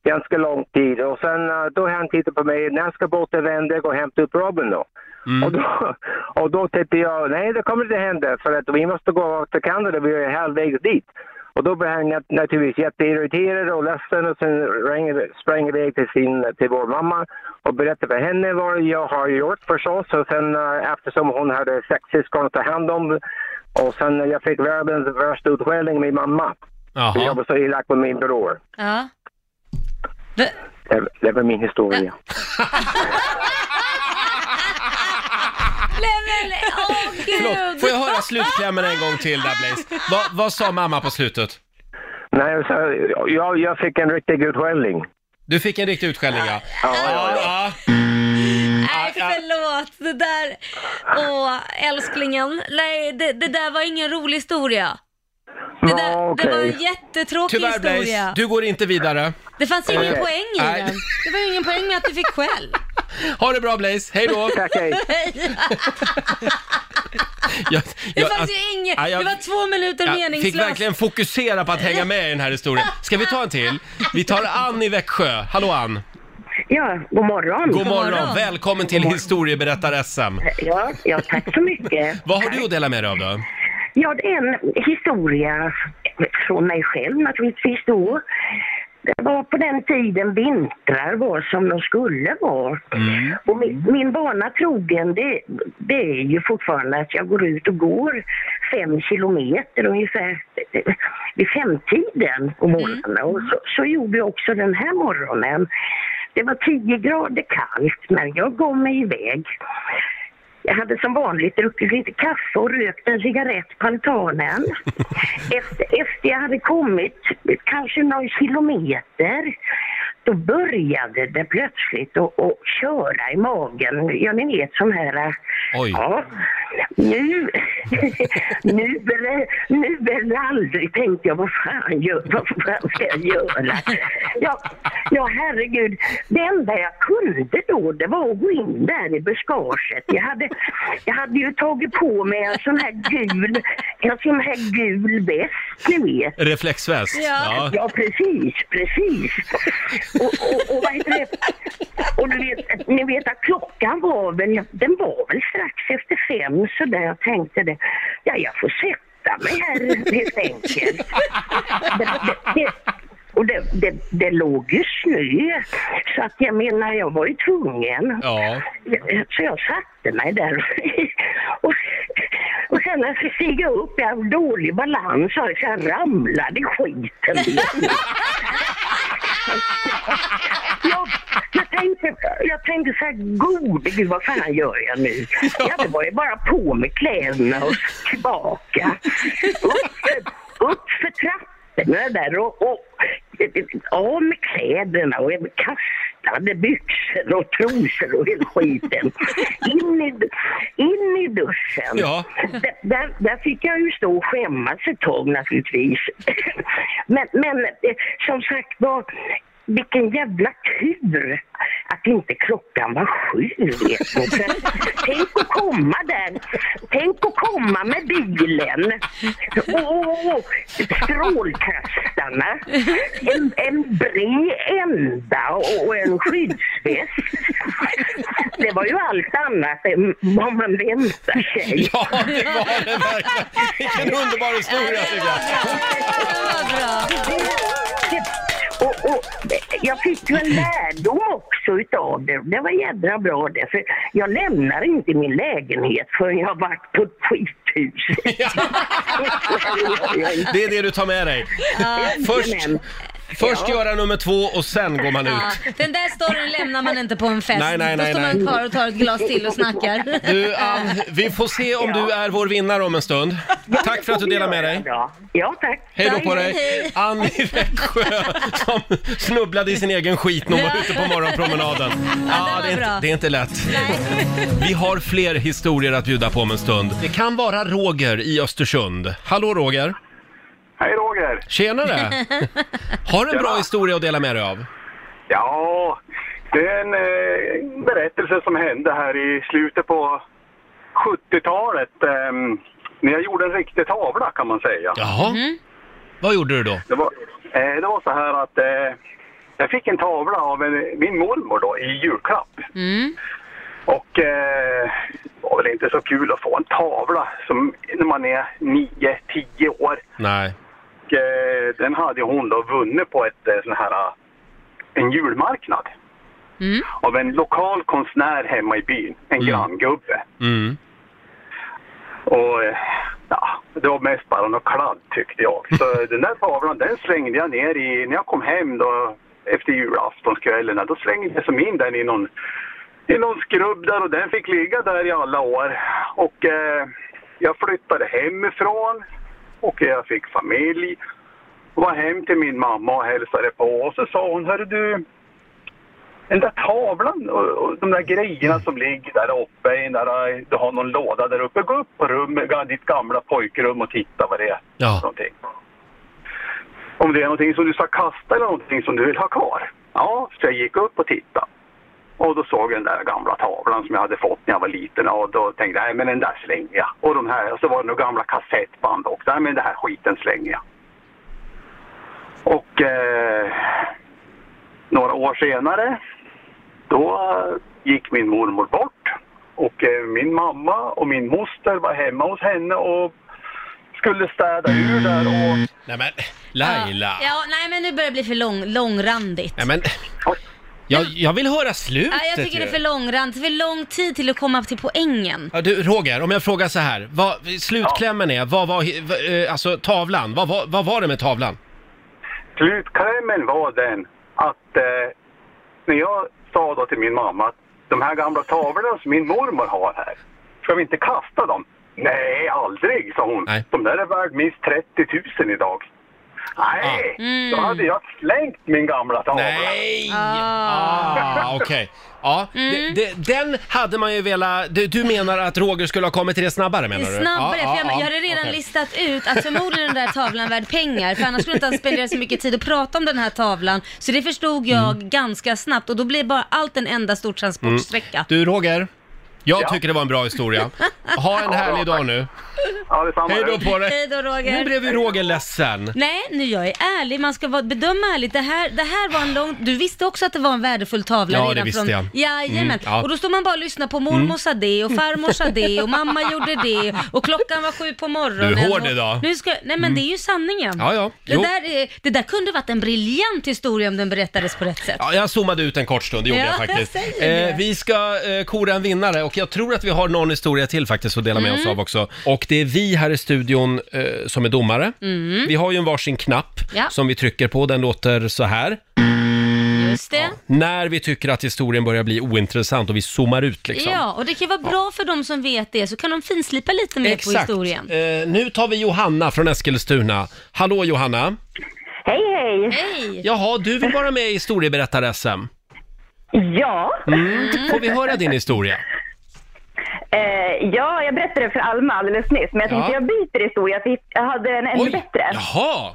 Speaker 10: ganska lång tid. Och sen eh, då han tittade på mig, när ska båten vända? Gå och hämta upp Robin då.
Speaker 1: Mm.
Speaker 10: Och då, och då tänkte jag, nej det kommer inte hända för att vi måste gå till Kanada, vi är halvvägs dit. Och då blev han nat- naturligtvis jätteirriterad och ledsen och sen ringde- sprang iväg till, sin, till vår mamma och berättade för henne vad jag har gjort förstås. Och sen eh, eftersom hon hade sex syskon att ta hand om och sen eh, jag fick världens värsta utskällning med mamma. För Jag
Speaker 1: Jaha.
Speaker 10: var så elak mot min bror.
Speaker 2: Ja.
Speaker 1: Mm.
Speaker 2: V-
Speaker 10: Det, det var min historia.
Speaker 2: Nej men, åh
Speaker 1: Förlåt,
Speaker 2: gud!
Speaker 1: får jag höra slutklämmen en gång till där Blaze? Va, vad sa mamma på slutet?
Speaker 10: Nej, så, jag, jag fick en riktig utskällning.
Speaker 1: Du fick en riktig utskällning ja.
Speaker 10: Ja, ja, ja.
Speaker 1: ja.
Speaker 2: Nej förlåt, det där, åh älsklingen, nej det, det där var ingen rolig historia. Det, där,
Speaker 10: Ja, okej.
Speaker 2: det var en jättetråkig
Speaker 1: Tyvärr Blaze,
Speaker 2: historia.
Speaker 1: du går inte vidare. Eh,
Speaker 2: Det fanns ingen
Speaker 10: Okej.
Speaker 2: poäng i
Speaker 1: Nej.
Speaker 2: den. Det var ju ingen poäng med att du fick skäll.
Speaker 1: Ha det bra Blaze, hej då!
Speaker 10: Tack, hej.
Speaker 1: Jag-
Speaker 2: Det
Speaker 1: jag-
Speaker 2: fanns
Speaker 1: att-
Speaker 2: ju ingen,
Speaker 1: Nej, alltså, jag-
Speaker 2: det var två minuter
Speaker 1: Jag
Speaker 2: meningslöst.
Speaker 1: fick verkligen fokusera på att hänga med i den här historien. Ska vi ta en till? Vi tar Ann i Växjö. Hallå Ann!
Speaker 11: Ja, god morgon.
Speaker 1: God morgon!
Speaker 2: morgon.
Speaker 1: Välkommen till historieberättar-SM.
Speaker 11: Ja, ja, tack så mycket.
Speaker 1: Vad har du att dela med dig av då?
Speaker 11: Ja, det är en historia från mig själv naturligtvis då. Det var på den tiden vintrar var som de skulle vara. Och min, min bana trogen, det, det är ju fortfarande att jag går ut och går fem kilometer ungefär eh, vid femtiden på morgonen. Och så, så gjorde jag också den här morgonen. Det var 10 grader kallt, men jag gav mig iväg. Jag hade som vanligt druckit lite kaffe och rökt en cigarett på altanen. efter, efter jag hade kommit kanske någon kilometer då började det plötsligt att, att köra i magen. Ja, ni vet sån här... äh,
Speaker 1: Oj.
Speaker 11: Ja, nu, nu, eller, nu eller aldrig tänkte jag, vad fan, gör, vad fan ska jag göra? Ja, ja, herregud. Det enda jag kunde då, det var att gå in där i buskaget. Jag hade, jag hade ju tagit på mig en sån här gul, en sån här gul väst, ni vet.
Speaker 1: Reflexväst.
Speaker 2: Ja.
Speaker 11: Ja, precis, precis. Och, och, och vad heter det? Och du vet, ni vet att klockan var väl, den var väl strax efter fem så där jag tänkte det. Ja, jag får sätta mig här helt enkelt. Det, det, det, och det, det, det låg ju snö, så att jag menar, jag var ju tvungen.
Speaker 1: Ja.
Speaker 11: Så jag satte mig där. Och, och sen när jag skulle stiga upp, jag hade dålig balans, så jag ramlade i skiten. Jag, jag, tänkte, jag tänkte så här, gode gud vad fan gör jag nu? Ja, det var ju bara på med kläderna och tillbaka. Upp för, upp för trapporna där och, och av med kläderna och jag kastade byxor och trosor och hela skiten. In i, in i duschen.
Speaker 1: Ja.
Speaker 11: Där- Där, där fick jag ju stå och skämmas ett tag naturligtvis. Men, men eh, som sagt var, vilken jävla tur att inte klockan var sju. Vet ni. För tänk att komma där, tänk att komma med bilen och, och, och strålkastarna, en, en bred ända och, och en skyddsväst. Det var ju allt annat än vad man väntar sig.
Speaker 1: Ja, det var det verkligen. Vilken underbar historia, Sylvia.
Speaker 2: Vad bra.
Speaker 11: Och, och, jag fick ju en lärdom också utav det. Det var jädra bra det. För jag lämnar inte min lägenhet förrän jag har varit på ett skithus.
Speaker 1: Det är det du tar med dig. Först,
Speaker 11: Jajamän.
Speaker 1: först göra nummer två och sen går man
Speaker 2: Ja,
Speaker 1: ut.
Speaker 2: den där storyn lämnar man inte på en fest.
Speaker 1: Nej, nej, nej,
Speaker 2: Då står man
Speaker 1: nej.
Speaker 2: kvar och tar ett glas till och snackar.
Speaker 1: Du, Ann, vi får se om du är vår vinnare om en stund. Tack för att du delar med dig.
Speaker 11: Ja, Ja, tack.
Speaker 1: Hej då
Speaker 2: Tack,
Speaker 1: på
Speaker 2: hej,
Speaker 1: dig!
Speaker 2: hej.
Speaker 1: Ann i Växjö som snubblade i sin egen skit när hon var ute på morgonpromenaden. Ja,
Speaker 2: var
Speaker 1: det, är inte,
Speaker 2: bra.
Speaker 1: det är inte lätt. Vi har fler historier att bjuda på om en stund. Det kan vara Roger i Östersund. Hallå Roger!
Speaker 6: Hej Roger!
Speaker 1: Tjenare! Har du en bra historia att dela med dig av?
Speaker 6: Ja, det är en eh, berättelse som hände här i slutet på 70-talet. ehm, när jag gjorde en riktig tavla kan man säga.
Speaker 1: Jaha? Vad gjorde du då?
Speaker 6: Det var, eh, det var så här att eh, jag fick en tavla av en, min mormor då i julklapp.
Speaker 2: Mm.
Speaker 6: Och eh, det var väl inte så kul att få en tavla som när man är 9-10 år.
Speaker 1: Nej.
Speaker 6: Och, eh, den hade hon då vunnit på ett eh, sån här, eh, en julmarknad.
Speaker 2: Mm.
Speaker 6: Av en lokal konstnär hemma i byn, en granngubbe.
Speaker 1: Mm.
Speaker 6: Och eh, ja, det var mest bara något kladd tyckte jag. Så den där tavlan den slängde jag ner i, när jag kom hem då efter julaftonskvällen, då slängde jag som in den i någon, i någon skrubb där och den fick ligga där i alla år. Och eh, jag flyttade hemifrån och jag fick familj. Och var hem till min mamma och hälsade på och så sa hon, hörru du, den där tavlan och, och de där grejerna som ligger där uppe, i den där, du har någon låda där uppe. Gå upp på rummet, ditt gamla pojkrum och titta vad det är.
Speaker 1: Ja.
Speaker 6: för Någonting. Om det är någonting som du ska kasta eller någonting som du vill ha kvar. Ja, så jag gick upp och tittade. Och då såg jag den där gamla tavlan som jag hade fått när jag var liten och då tänkte jag, nej men den där slänger jag. Och de här, och så var det några gamla kassettband också, nej men den här skiten slänger jag. Och eh, några år senare då eh, gick min mormor bort och eh, min mamma och min moster var hemma hos henne och skulle städa ur där och
Speaker 1: Nej men, Laila!
Speaker 2: Mm. Ja, ja, nej men nu börjar det bli för lång, långrandigt.
Speaker 1: Nej men, jag, jag vill höra slutet
Speaker 2: Ja, jag tycker det är
Speaker 1: ju.
Speaker 2: för långrandigt, för lång tid till att komma till poängen.
Speaker 1: Ja, du, Roger, om jag frågar så här. Vad, slutklämmen är, vad var, hi- v- eh, alltså tavlan, vad, var- vad var det med tavlan?
Speaker 6: slutklämmen var den att eh, när jag sa då till min mamma att de här gamla tavlorna som min mormor har här, ska vi inte kasta dem? Nej, aldrig, sa hon.
Speaker 1: Nej.
Speaker 6: De där är värd minst 30 000 idag. Nej, då
Speaker 2: Mm.
Speaker 6: hade jag slängt min gamla tavla.
Speaker 1: Nej! Ah, okej. Ja,
Speaker 2: Mm.
Speaker 1: det, det, den hade man ju velat... Du, du menar att Roger skulle ha kommit till det snabbare menar du?
Speaker 2: Snabbare,
Speaker 1: Ja,
Speaker 2: för jag,
Speaker 1: ja,
Speaker 2: jag
Speaker 1: ja,
Speaker 2: hade redan
Speaker 1: okej.
Speaker 2: listat ut att förmodligen den där tavlan är värd pengar, för annars skulle inte han spendera så mycket tid att prata om den här tavlan. Så det förstod jag
Speaker 1: Mm.
Speaker 2: ganska snabbt och då blir bara allt en enda stor transportsträcka.
Speaker 1: Mm. Du Roger, jag
Speaker 6: Ja.
Speaker 1: tycker det var en bra historia. Ha en härlig dag nu.
Speaker 6: Ja, detsamma.
Speaker 1: Hej då på dig!
Speaker 2: Hej då
Speaker 1: Nu
Speaker 2: Roger!
Speaker 1: blev ju Roger ledsen.
Speaker 2: Nej, nu jag är ärlig. Man ska vara- bedöma ärligt. Det här, det här var en lång... Du visste också att det var en värdefull tavla
Speaker 1: Ja, det
Speaker 2: redan
Speaker 1: visste
Speaker 2: från...
Speaker 1: jag.
Speaker 2: Jajamän.
Speaker 1: Mm, ja. Mm.
Speaker 2: Och då står man bara och lyssnar på mormor sa det och farmor sa det och mamma gjorde det och klockan var sju på morgonen.
Speaker 1: Du är hård
Speaker 2: och-
Speaker 1: idag. Mm.
Speaker 2: Nu ska... Nej, men det är ju sanningen.
Speaker 1: Ja, ja.
Speaker 2: Det
Speaker 1: Jo.
Speaker 2: där, är, det där kunde varit en briljant historia om den berättades på rätt sätt.
Speaker 1: Ja, jag zoomade ut en kort stund, det gjorde
Speaker 2: Ja,
Speaker 1: jag faktiskt.
Speaker 2: jag säger det.
Speaker 1: Eh, vi ska eh, kora en vinnare och jag tror att vi har någon historia till faktiskt att dela med
Speaker 2: Mm.
Speaker 1: oss av också. Och det är vi här i studion eh, som är domare. Vi har ju en varsin knapp
Speaker 2: Mm. Ja.
Speaker 1: som vi trycker på, den låter så här.
Speaker 2: Just det.
Speaker 1: När vi tycker att historien börjar bli ointressant och vi zoomar ut liksom.
Speaker 2: Ja. och det kan vara bra för de som vet det, så kan de finslipa lite mer på
Speaker 1: Exakt.
Speaker 2: historien.
Speaker 1: Eh, nu tar vi Johanna från Eskilstuna. Hallå Johanna!
Speaker 12: Hej, hej!
Speaker 2: Hej!
Speaker 1: Jaha, du vill vara med i historieberättar-SM.
Speaker 12: Ja,
Speaker 1: Mm.
Speaker 2: Mm.
Speaker 1: Får vi höra din historia?
Speaker 12: eh, ja, jag berättade för Alma alldeles nyss, men jag tänkte
Speaker 1: Ja.
Speaker 12: jag byter historia för jag hade en ännu bättre.
Speaker 1: Jaha!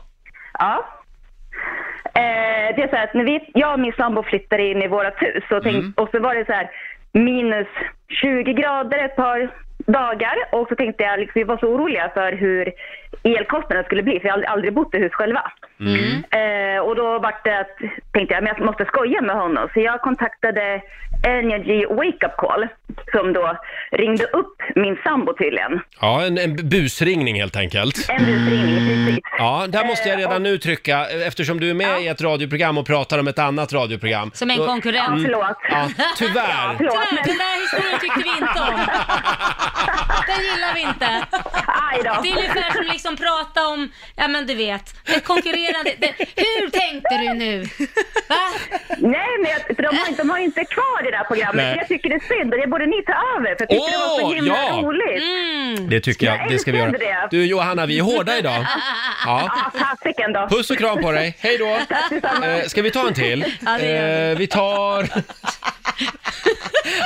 Speaker 12: Ja. Eh, det är så här att när vi, jag och min sambo flyttade in i vårt hus och,
Speaker 1: Mm.
Speaker 12: tänk, och så var det så här minus 20 grader ett par dagar och så tänkte jag, liksom, vi var så oroliga för hur elkostnaden skulle bli för jag har aldrig, aldrig bott i hus själva.
Speaker 1: Mm.
Speaker 2: Mm.
Speaker 12: Eh, och då var det att, tänkte jag, men jag måste skoja med honom så jag kontaktade Energy Wake Up Call som då ringde upp min sambo tydligen.
Speaker 1: Ja, en, en busringning helt enkelt.
Speaker 12: En busringning precis. Eh,
Speaker 1: Ja, där måste jag redan nu trycka eftersom du är med i ett radioprogram och pratar om ett annat radioprogram.
Speaker 2: Som en
Speaker 1: Då- Mm.
Speaker 2: konkurrent.
Speaker 12: Ja, förlåt.
Speaker 1: Ja, tyvärr.
Speaker 12: Förlåt,
Speaker 2: Tyvärr, den där historien tyckte vi inte om. Den gillar vi inte.
Speaker 12: aj då.
Speaker 2: Det är ungefär som liksom prata om, ja men du vet, ett konkurrerande... Det, hur tänkte du nu? Va?
Speaker 12: Nej, men jag, för de, har, inte- de har ju inte kvar det där programmet.
Speaker 1: Nej.
Speaker 12: Så Jag tycker det är synd och det borde ni ta över för jag tyckte det var
Speaker 1: Åh,
Speaker 12: så himla
Speaker 1: ja.
Speaker 12: roligt.
Speaker 1: Det tycker jag, det ska vi göra. Du Johanna, vi är hårda idag. Ja.
Speaker 12: Ja, fasiken då.
Speaker 1: Puss och kram på dig, hej då! Eh, ska vi ta en till?
Speaker 2: Ja, det gör
Speaker 1: Eh, vi tar...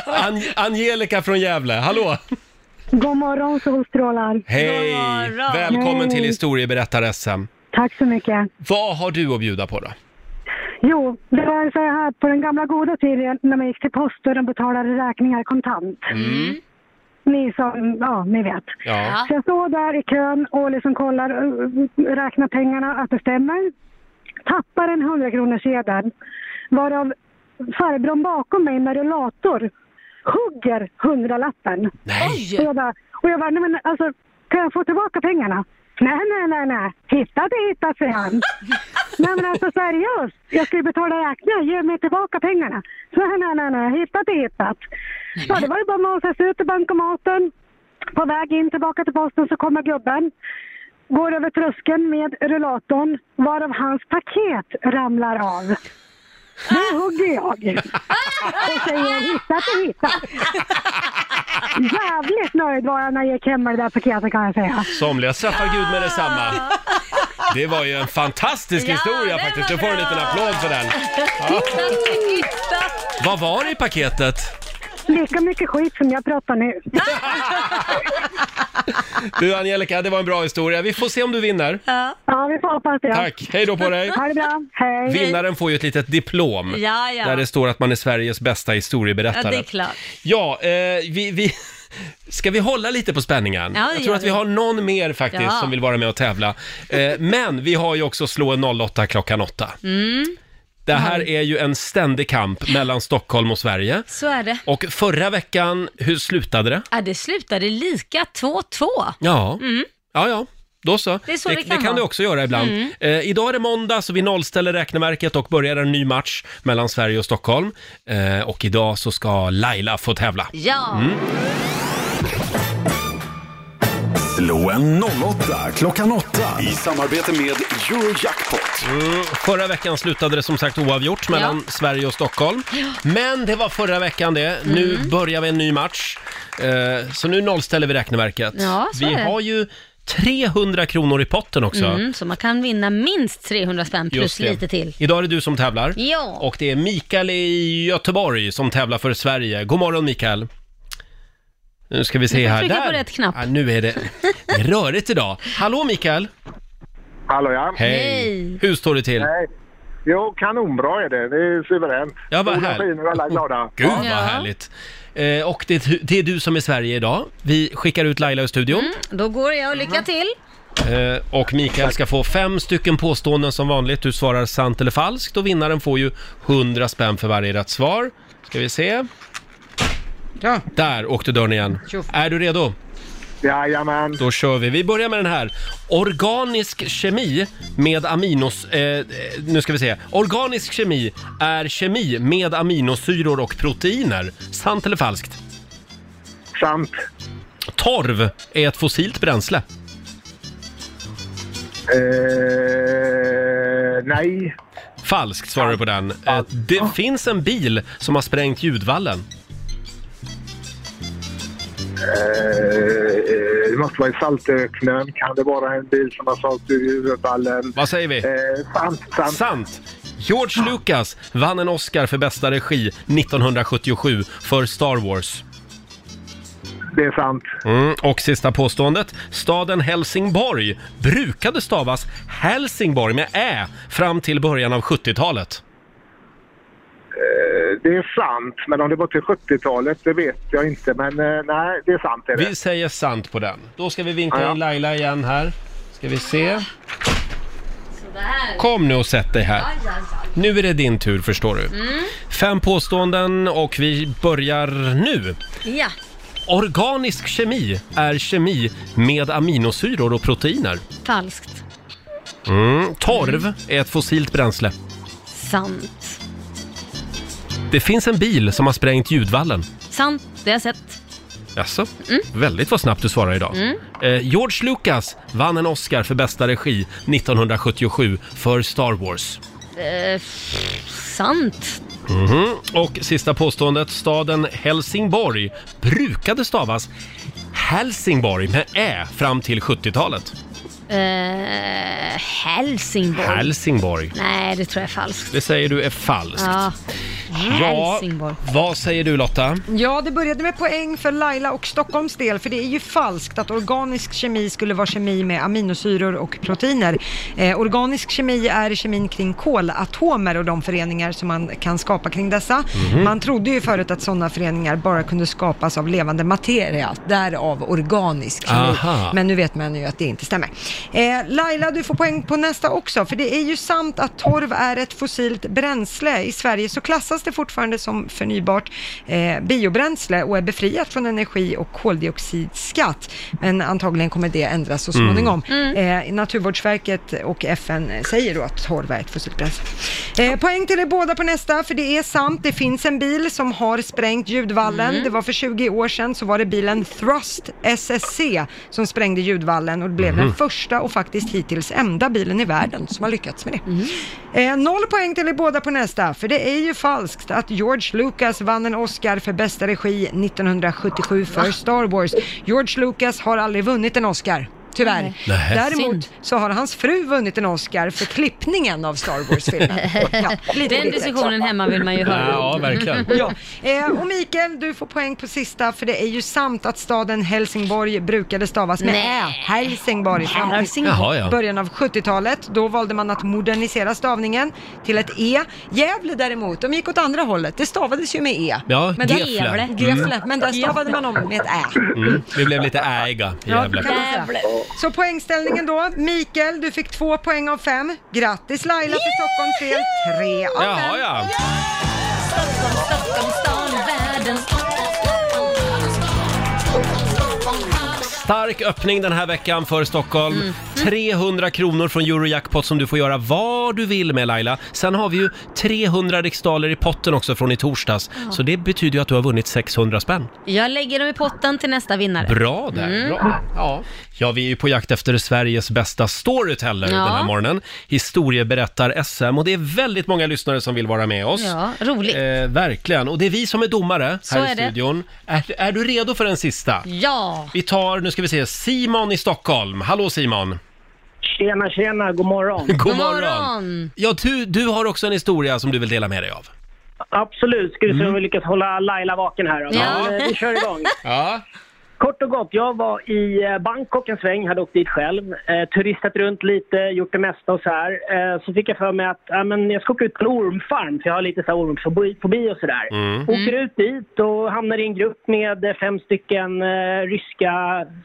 Speaker 1: An- Angelica från Gävle, hallå!
Speaker 12: God morgon solstrålar.
Speaker 1: Hej!
Speaker 2: God morgon.
Speaker 1: Välkommen till historieberättar-SM.
Speaker 12: Tack så mycket.
Speaker 1: Vad har du att bjuda på då?
Speaker 12: Jo, det var så här på den gamla goda tiden när man gick till posten och betalade räkningar kontant.
Speaker 1: Eh, mm.
Speaker 2: Mm.
Speaker 12: Ni som, ja ni vet.
Speaker 1: Ja.
Speaker 12: Så jag står där i kön och liksom kollar, eh, räknar pengarna att det stämmer. Tappar en 100 kronor sedan varav farbrorn bakom mig med rullator hugger hundralappen.
Speaker 1: Nej!
Speaker 2: Oj!
Speaker 12: Och jag bara, och jag bara nej men alltså, kan jag få tillbaka pengarna? Nej, nej, nej, nej. Hitta det, hitta, säger han. nej, men alltså seriöst. Jag ska ju betala räkningar. Ge mig tillbaka pengarna. Nej, nej, nej, nej. Hitta det, hitta. Ja, det var ju bara att masa sig ut till bankomaten. På väg in tillbaka till posten så kommer gubben. Går över tröskeln med rullatorn, varav hans paket ramlar av. Nu hugger jag och säger hittat och hittat. Jävligt nöjd var jag när jag gick hem med det där paketet kan jag säga.
Speaker 1: Somliga straffar Gud med detsamma. Det var ju en fantastisk
Speaker 2: Ja,
Speaker 1: historia
Speaker 2: det
Speaker 1: faktiskt.
Speaker 2: var
Speaker 1: Du får en
Speaker 2: bra.
Speaker 1: liten applåd för den. Vad var det i paketet?
Speaker 12: Lika mycket skit som jag pratar nu.
Speaker 1: Du Angelica, det var en bra historia. Vi får se om du vinner.
Speaker 12: Ja, vi får hoppas det.
Speaker 1: Tack, hej då på dig.
Speaker 12: Ha det bra. Hej.
Speaker 1: Vinnaren får ju ett litet diplom.
Speaker 2: Ja, ja.
Speaker 1: Där det står att man är Sveriges bästa
Speaker 2: Ja, det är
Speaker 1: historieberättare.
Speaker 2: klart.
Speaker 1: Ja, eh, vi, vi... Ska vi hålla lite på spänningen?
Speaker 2: Ja, det
Speaker 1: jag
Speaker 2: gör
Speaker 1: tror att vi
Speaker 2: vi.
Speaker 1: har någon mer faktiskt
Speaker 2: Ja.
Speaker 1: som vill vara med och tävla. Eh, men vi har ju också Slå en 08 klockan 8.
Speaker 2: Mm,
Speaker 1: Det här är ju en ständig kamp mellan Stockholm och Sverige.
Speaker 2: Så är det.
Speaker 1: Och förra veckan, hur slutade det?
Speaker 2: Ja, det slutade lika Mm. 2-2.
Speaker 1: Ja, ja, ja. Då så.
Speaker 2: Det är så det kan vara. Mm.
Speaker 1: du också göra ibland. Eh, idag är det måndag så vi nollställer räkneverket och börjar en ny match mellan Sverige och Stockholm. Eh, och idag så ska Laila få tävla. Mm.
Speaker 2: Ja,
Speaker 8: Slå en 08 klockan 8 i samarbete med Eurojackpot.
Speaker 1: Mm, Förra veckan slutade det som sagt oavgjort mellan Sverige och Stockholm. Men det var förra veckan det. Nu
Speaker 2: Mm.
Speaker 1: börjar vi en ny match. Eh, så nu nollställer vi räkneverket.
Speaker 2: Ja, så
Speaker 1: vi
Speaker 2: är det.
Speaker 1: har ju 300 kronor i potten också.
Speaker 2: Mm, så man kan vinna minst 300 spänn
Speaker 1: Just
Speaker 2: plus
Speaker 1: det.
Speaker 2: lite till.
Speaker 1: Idag är det du som tävlar.
Speaker 2: Ja.
Speaker 1: Och det är Mikael i Göteborg som tävlar för Sverige. God morgon Mikael. Nu ska vi
Speaker 2: Du
Speaker 1: se
Speaker 2: får
Speaker 1: här.
Speaker 2: trycka
Speaker 1: Där.
Speaker 2: på rätt knapp.
Speaker 1: Ja, nu är det, det är rörigt idag. Hallå Mikael!
Speaker 13: Hallå ja.
Speaker 1: Hej! Hur står det till?
Speaker 13: Nej. Jo, kanonbra är det. Det är suveränt.
Speaker 1: Ja, vad
Speaker 13: Solen
Speaker 1: härligt. Oh,
Speaker 13: skiner och alla är glada.
Speaker 1: Gud vad härligt! Eh, och det, är- det är du som är Sverige idag. Vi skickar ut Laila ur studion.
Speaker 2: Då går jag och
Speaker 1: Mm.
Speaker 2: lycka till.
Speaker 1: Eh, och Mikael ska få fem stycken påståenden som vanligt. Du svarar sant eller falskt och vinnaren får ju 100 spänn för varje rätt svar. Ska vi se.
Speaker 3: Ja.
Speaker 1: Där åkte dörren igen. Är du redo?
Speaker 13: Jajamän.
Speaker 1: Då kör vi. Vi börjar med den här. Organisk kemi med aminos... Eh, eh, nu ska vi se. Organisk kemi är kemi med aminosyror och proteiner. Sant eller falskt?
Speaker 13: Sant.
Speaker 1: Torv är ett fossilt bränsle.
Speaker 13: Eh, nej.
Speaker 1: Falskt svarar du på den. Eh, Det finns en bil som har sprängt ljudvallen.
Speaker 13: Eh, eh, det måste vara i Saltöknen. Kan det vara en bil som har sålt ur huvudvallen?
Speaker 1: Vad säger vi?
Speaker 13: Eh, sant, sant.
Speaker 1: Sant! George
Speaker 13: Ah.
Speaker 1: Lucas vann en Oscar för bästa regi 1977 för Star Wars.
Speaker 13: Det är sant.
Speaker 1: Mm, och sista påståendet. Staden Helsingborg brukade stavas Helsingborg med Ä fram till början av 70-talet.
Speaker 13: Eh, det är sant. Men om det var till 70-talet, det vet jag inte. Men eh, nej, det är sant. Är det.
Speaker 1: Vi säger sant på den. Då ska vi vinka
Speaker 13: Ja, ja.
Speaker 1: in Laila igen här. Ska vi se.
Speaker 2: Sådär.
Speaker 1: Kom nu och sätt dig här.
Speaker 2: Aj, aj, aj.
Speaker 1: Nu är det din tur förstår du.
Speaker 2: Mm.
Speaker 1: Fem påståenden och vi börjar nu.
Speaker 2: Ja,
Speaker 1: Organisk kemi är kemi med aminosyror och proteiner.
Speaker 2: falskt.
Speaker 1: Mm. Torv är ett fossilt bränsle.
Speaker 2: Sant.
Speaker 1: Det finns en bil som har sprängt ljudvallen.
Speaker 2: Sant, det har jag sett.
Speaker 1: Jaså? Väldigt vad snabbt du svarar idag.
Speaker 2: Mm.
Speaker 1: Eh, George Lucas vann en Oscar för bästa regi 1977 för Star Wars.
Speaker 2: Eh, pff, sant.
Speaker 1: Mhm. Och sista påståendet, staden Helsingborg brukade stavas Helsingborg med Ä fram till 70-talet.
Speaker 2: Eh, Helsingborg.
Speaker 1: Helsingborg.
Speaker 2: Nej, det tror jag är falskt.
Speaker 1: Det säger du är falskt.
Speaker 2: Ja.
Speaker 1: Ja,
Speaker 2: Helsingborg.
Speaker 1: vad säger du Lotta?
Speaker 3: Ja, det började med poäng för Laila och Stockholms del, för det är ju falskt att organisk kemi skulle vara kemi med aminosyror och proteiner. Eh, organisk kemi är kemin kring kolatomer och de föreningar som man kan skapa kring dessa.
Speaker 14: Mhm.
Speaker 3: Man trodde ju förut att sådana föreningar bara kunde skapas av levande materia, därav organisk kemi.
Speaker 14: Aha.
Speaker 3: Men nu vet man ju att det inte stämmer. Eh, Laila, du får poäng på nästa också, för det är ju sant att torv är ett fossilt bränsle. I Sverige så klassas det fortfarande som förnybart eh, biobränsle och är befriat från energi och koldioxidskatt. Men antagligen kommer det ändras så
Speaker 14: Mm.
Speaker 3: småningom. Eh, Naturvårdsverket och FN säger då att torv är ett fossilt bränsle. Eh, poäng till er båda på nästa, för det är sant. Det finns en bil som har sprängt ljudvallen.
Speaker 14: Mm.
Speaker 3: Det var för 20 år sedan så var det bilen Thrust SSC som sprängde ljudvallen och det blev den
Speaker 14: Mhm.
Speaker 3: första och faktiskt hittills enda bilen i världen som har lyckats med
Speaker 14: Mm.
Speaker 3: det. Eh, noll poäng till er båda på nästa, för det är ju falskt att George Lucas vann en Oscar för bästa regi 1977
Speaker 14: Ah.
Speaker 3: för Star Wars. George Lucas har aldrig vunnit en Oscar. Tyvärr.
Speaker 14: Nej.
Speaker 3: Däremot så har hans fru vunnit en Oscar för klippningen av Star Wars-filmen. lite
Speaker 2: Den
Speaker 3: bittert.
Speaker 2: diskussionen hemma vill man ju höra.
Speaker 1: Ja, verkligen.
Speaker 3: Ja. Eh, och Mikael, du får poäng på sista, för det är ju sant att staden Helsingborg brukade stavas med
Speaker 2: Nej.
Speaker 3: Ä. Helsingborg fram till
Speaker 2: Helsingborg. Jaha, ja.
Speaker 3: början av 70-talet. Då valde man att modernisera stavningen till ett E. Gävle däremot, de gick åt andra hållet. Det stavades ju med E.
Speaker 1: Ja,
Speaker 3: men där-
Speaker 1: Gefle. Mm.
Speaker 3: Gefle, men där stavade man om med ett Ä.
Speaker 1: Mm, vi blev lite äga i
Speaker 3: Ja,
Speaker 1: Gävle.
Speaker 3: det kan man säga. Så poängställningen då, Mikael, du fick två poäng av fem. Grattis Laila för Stockholms del, tre av fem.
Speaker 1: Jaha, ja.
Speaker 2: Stockholm, stan, världen.
Speaker 1: Stark öppning den här veckan för Stockholm.
Speaker 2: Mm.
Speaker 1: 300 kronor från Eurojackpot som du får göra vad du vill med Laila. Sen har vi ju 300 riksdaler i potten också från i torsdags.
Speaker 2: Ja.
Speaker 1: Så det betyder ju att du har vunnit 600 spänn.
Speaker 2: Jag lägger dem i potten till nästa vinnare. Mm.
Speaker 1: Bra där, bra. Ja. Ja, vi är ju på jakt efter Sveriges bästa storyteller
Speaker 2: Ja.
Speaker 1: den här morgonen. Historieberättar-SM och det är väldigt många lyssnare som vill vara med oss.
Speaker 2: Ja, roligt.
Speaker 1: Eh, verkligen, och det är vi som är domare
Speaker 2: Så
Speaker 1: här i
Speaker 2: är det.
Speaker 1: studion. Är, är du redo för den sista?
Speaker 2: Ja.
Speaker 1: Vi tar, nu ska vi se, Simon i Stockholm. Hallå Simon!
Speaker 14: Tjena, tjena, god morgon.
Speaker 1: God morgon. Ja, du, du har också en historia som du vill dela med dig av.
Speaker 14: Absolut, ska vi
Speaker 1: Mm.
Speaker 14: se om vi lyckas hålla Laila vaken här då.
Speaker 1: Ja.
Speaker 14: Men, eh, Vi kör igång.
Speaker 1: Ja.
Speaker 14: Kort och gott, jag var i eh, Bangkok en sväng, hade åkt dit själv, eh, turistat runt lite, gjort det mesta och så här. Eh, så fick jag för mig att ja, men jag ska åka ut på en ormfarm, för jag har lite så här ormfobi fobi och sådär.
Speaker 15: Mm.
Speaker 14: Åker ut dit och hamnar i en grupp med eh, fem stycken eh, ryska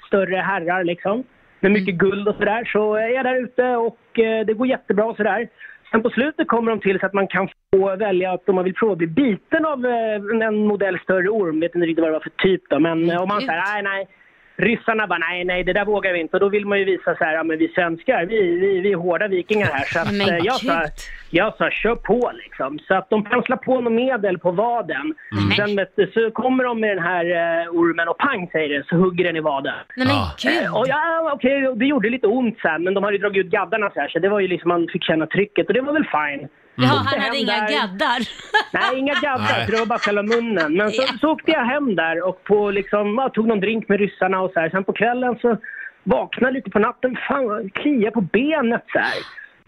Speaker 14: större herrar liksom. Med mycket guld och sådär. Så är jag där ute och eh, det går jättebra och sådär. Sen på slutet kommer de till så att man kan få välja att om man vill prova att bli biten av eh, en- en modell större orm, vet inte riktigt vad det var för typ då, men eh, om man säger nej, nej. Ryssarna bara nej, nej, det där vågar vi inte. Och då vill man ju visa så här, ja men vi svenskar, vi, vi, vi är hårda vikingar här. Så att,
Speaker 15: Men
Speaker 14: eh, jag, sa,
Speaker 15: gud.
Speaker 14: jag sa kör på liksom. Så att de penslar på något medel på vaden.
Speaker 15: Mm.
Speaker 14: Sen vet du, så kommer de med den här eh, ormen och pang säger det, så hugger den i vaden.
Speaker 15: Nej, men gud.
Speaker 14: Eh, Och ja, okej, och det gjorde lite ont sen, men de hade ju dragit ut gaddarna så här, så det var ju liksom man fick känna trycket och det var väl fine.
Speaker 2: Ja,
Speaker 14: Åkte
Speaker 2: han
Speaker 11: Mm.
Speaker 2: hade
Speaker 14: hem
Speaker 2: inga
Speaker 14: där.
Speaker 2: gaddar.
Speaker 14: Nej, inga gaddar,
Speaker 2: Nej.
Speaker 14: för det var bara själva munnen. Men så,
Speaker 2: Ja.
Speaker 14: så åkte jag hem där och på liksom, ja, tog någon drink med ryssarna och så här. Sen på kvällen så vaknade jag lite på natten, fan vad kliar på benet så här.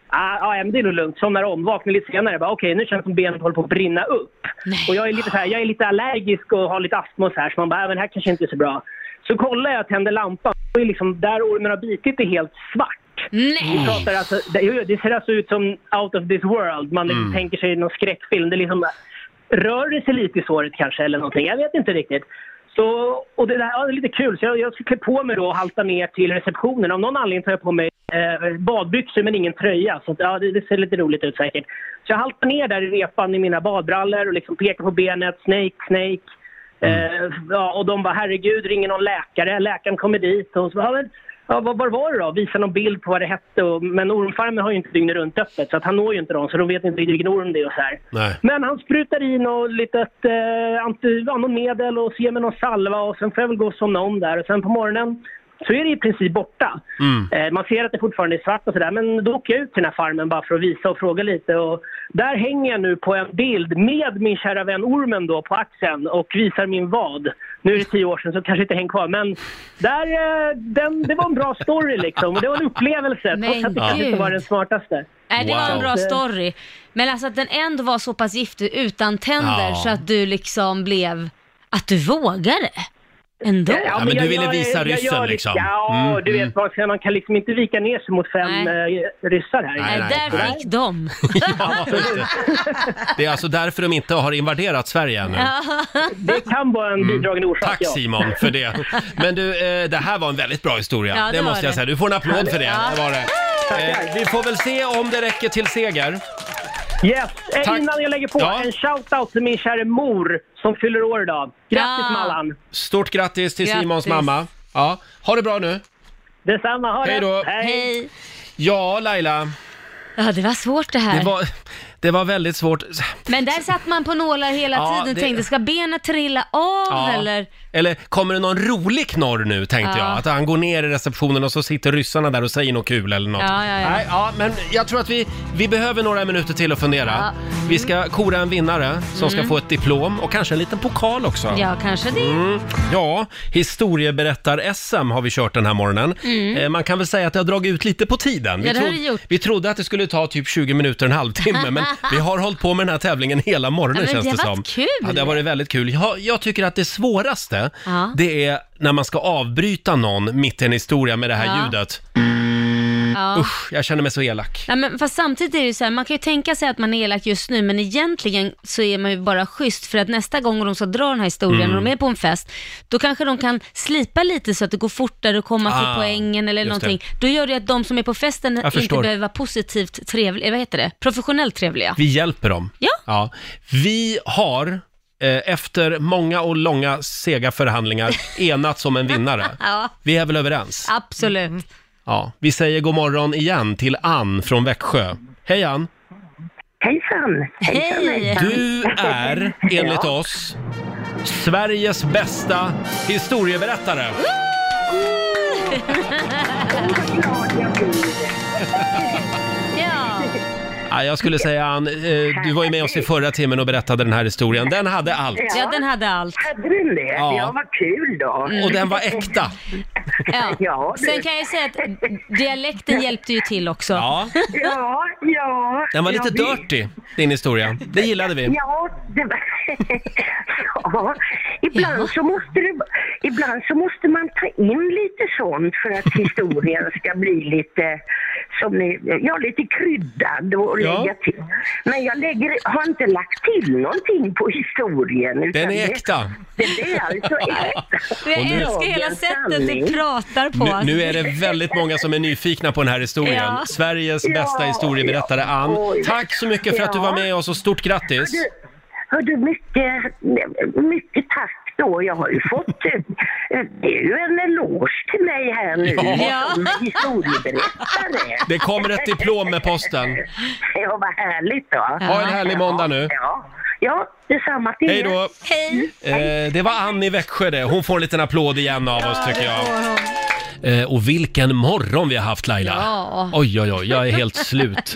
Speaker 14: Ah, ah, ja, men det är nog lugnt. Somnar om, vaknar lite senare. Bara, Okej, nu känns det som benet håller på att brinna upp. Och jag är, lite så här, jag är lite allergisk och har lite astma och så här, så man bara, äh, men det här kanske inte är så bra. Så kollar jag, tänder lampan. Och är liksom, där ormen har bitit är helt svart. Vi pratar alltså, det, jo, jo, det ser alltså ut som out of this world. Man liksom tänker sig någon skräckfilm. Det är liksom, rör det sig lite i såret kanske eller någonting. Jag vet inte riktigt. Så, och det, där, ja, det är lite kul, så jag, jag ska klä på mig då och halta ner till receptionen. Av någon anledning tar jag på mig eh, badbyxor men ingen tröja. Så att, ja, det, det ser lite roligt ut säkert. Så jag haltar ner där i repan i mina badbrallor och liksom pekar på benet. Snake, snake. Eh, ja, och de bara, herregud, ringer någon läkare. Läkaren kommer dit och så bara, ja, men, ja, vad, var var det då? Visar någon bild på vad det hette. Och, men ormfarmen har ju inte dygnet runt öppet så att han når ju inte dem så de vet inte riktigt vilken orm det är och så här.
Speaker 1: Nej.
Speaker 14: Men han sprutar i något litet eh, anti, ja, något medel och så ger mig någon salva och sen får jag väl gå och somna om där. Och sen på morgonen så är det i princip borta.
Speaker 15: Mm.
Speaker 14: Eh, man ser att det fortfarande är svart och sådär men då åker jag ut till den här farmen bara för att visa och fråga lite. Och där hänger jag nu på en bild med min kära vän ormen då på axeln och visar min vad. Nu är det tio år sedan så kanske inte häng kvar men där, eh, den, det var en bra story liksom och det var en upplevelse trots att det kanske inte
Speaker 2: gud.
Speaker 14: var den smartaste.
Speaker 2: Nej, det var en
Speaker 14: Wow.
Speaker 2: bra story. Men alltså att den ändå var så pass giftig utan tänder
Speaker 1: Ja.
Speaker 2: så att du liksom blev, att du vågade. Ändå.
Speaker 1: Ja, men du ville visa ryssen,
Speaker 14: gör det.
Speaker 1: liksom.
Speaker 14: Ja,
Speaker 1: Mm,
Speaker 14: du
Speaker 1: mm.
Speaker 14: vet, man, kan- man kan liksom inte vika ner sig mot fem eh, ryssar här.
Speaker 1: Nej, Nej, där nej.
Speaker 2: Fick de.
Speaker 1: Det är alltså därför de inte har invaderat Sverige ännu.
Speaker 14: Det kan vara en bidragande orsak,
Speaker 1: Mm. Tack Simon för det. Men du, eh, det här var en väldigt bra historia.
Speaker 15: Ja,
Speaker 1: det
Speaker 15: det var
Speaker 1: måste jag
Speaker 15: det.
Speaker 1: säga. Du får en applåd för det.
Speaker 15: Ja.
Speaker 1: det, var det. Eh, vi får väl se om det räcker till seger.
Speaker 14: Yes, Eh, Innan jag lägger på, en shout-out till min kära mor som fyller år idag. Grattis
Speaker 1: Ja.
Speaker 14: Mallan!
Speaker 1: Stort grattis till
Speaker 14: Grattis.
Speaker 1: Simons mamma. Ja, ha det bra nu.
Speaker 14: Detsamma, ha det!
Speaker 1: Hej då.
Speaker 2: Hej!
Speaker 1: Ja, Laila.
Speaker 2: Ja, det var svårt det här.
Speaker 1: Det var, det var väldigt svårt.
Speaker 2: Men där satt man på nålar hela
Speaker 1: Ja,
Speaker 2: tiden och
Speaker 1: det-
Speaker 2: tänkte, ska benet trilla av
Speaker 1: Ja.
Speaker 2: eller?
Speaker 1: Eller kommer det någon rolig knorr nu, tänkte
Speaker 2: Ja.
Speaker 1: jag. Att han går ner i receptionen och så sitter ryssarna där och säger något kul eller något.
Speaker 2: Ja, ja, ja.
Speaker 1: Nej, ja, men jag tror att vi, vi behöver några minuter till att fundera.
Speaker 2: Ja.
Speaker 1: Vi ska kora en vinnare som ska
Speaker 2: Mm.
Speaker 1: få ett diplom och kanske en liten pokal också.
Speaker 2: Ja, kanske det.
Speaker 1: Mm. Ja, historieberättar-SM har vi kört den här morgonen.
Speaker 2: Mm.
Speaker 1: Eh, Man kan väl säga att det har dragit ut lite på tiden.
Speaker 2: Ja, det har
Speaker 1: trodde-
Speaker 2: det gjort.
Speaker 1: vi trodde att det skulle ta typ 20 minuter, en halvtimme, men vi har hållit på med den här tävlingen hela morgonen
Speaker 2: Ja, men
Speaker 1: känns
Speaker 2: det
Speaker 1: det,
Speaker 2: har
Speaker 1: som.
Speaker 2: varit kul.
Speaker 1: Ja, det har varit väldigt kul. Jag, jag tycker att det svåraste,
Speaker 2: Ja.
Speaker 1: det är när man ska avbryta någon mitt i en historia med det här
Speaker 2: Ja.
Speaker 1: ljudet.
Speaker 2: Ja.
Speaker 1: Usch, jag känner mig så elak.
Speaker 2: Nej, men fast samtidigt är det ju så här, man kan ju tänka sig att man är elak just nu, men egentligen så är man ju bara schysst för att nästa gång de ska dra den här historien
Speaker 1: Mm.
Speaker 2: och de är på en fest, då kanske de kan slipa lite så att det går fortare att komma
Speaker 1: Ah,
Speaker 2: till poängen eller
Speaker 1: just
Speaker 2: någonting. Då gör det ju att de som är på festen
Speaker 1: Jag
Speaker 2: inte
Speaker 1: förstår.
Speaker 2: behöver vara positivt trevliga, vad heter det, professionellt trevliga.
Speaker 1: Vi hjälper dem.
Speaker 2: Ja.
Speaker 1: Vi har eh, efter många och långa sega förhandlingar enats om en vinnare.
Speaker 2: Ja,
Speaker 1: Vi är väl överens?
Speaker 2: absolut.
Speaker 1: Ja. Vi säger god morgon igen till Ann från Växjö. Hej Ann!
Speaker 11: Hejsan! Hejsan, hejsan.
Speaker 1: Du är, enligt
Speaker 11: Ja.
Speaker 1: oss, Sveriges bästa historieberättare.
Speaker 2: ja.
Speaker 1: Ja, jag skulle säga Ann, eh, du var ju med oss i förra timmen och berättade den här historien. Den hade allt.
Speaker 2: Ja, den hade allt.
Speaker 11: Hade den det?
Speaker 1: Ja.
Speaker 11: Ja, vad kul då.
Speaker 1: Och den var äkta.
Speaker 2: Ja.
Speaker 11: Ja, du.
Speaker 2: Sen kan jag ju säga att dialekten hjälpte ju till också.
Speaker 1: Ja.
Speaker 11: Ja, ja.
Speaker 1: Den var lite
Speaker 11: ja, vi-
Speaker 1: dirty, din historia. Det gillade vi.
Speaker 11: Ja, det var... ja. Ibland, Så måste det... ibland så måste man ta in lite sånt för att historien ska bli lite, som ni... ja, lite kryddad och
Speaker 1: Ja.
Speaker 11: lägga till. Men jag lägger... har inte lagt till någonting på historien. utan
Speaker 1: Den är
Speaker 11: det-
Speaker 1: äkta.
Speaker 11: Det, det är alltså äkta.
Speaker 2: Jag
Speaker 1: Och nu-
Speaker 2: älskar hela
Speaker 11: Dagens
Speaker 2: sättet
Speaker 11: sanning.
Speaker 2: ni pratar på.
Speaker 1: Nu, nu är det väldigt många som är nyfikna på den här historien.
Speaker 2: Ja.
Speaker 1: Sveriges
Speaker 11: Ja,
Speaker 1: bästa historieberättare Ann.
Speaker 11: Oj.
Speaker 1: Tack så mycket för att du var
Speaker 11: Ja.
Speaker 1: med oss och stort grattis!
Speaker 11: Hördu, hördu mycket, mycket tack då. Jag har ju fått, eh, det är ju en eloge till mig här nu
Speaker 1: Ja.
Speaker 11: som historieberättare.
Speaker 1: Det kommer ett diplom med posten.
Speaker 11: Ja, vad härligt då.
Speaker 1: Ha en härlig måndag nu.
Speaker 11: Ja, ja detsamma till
Speaker 1: Hej då!
Speaker 2: Hej!
Speaker 1: Eh, det var Ann i Växjö det. Hon får en liten applåd igen av oss tycker jag.
Speaker 2: Åh,
Speaker 1: Eh, och vilken morgon vi har haft Laila!
Speaker 2: Ja.
Speaker 1: Oj, oj, oj, jag är helt slut.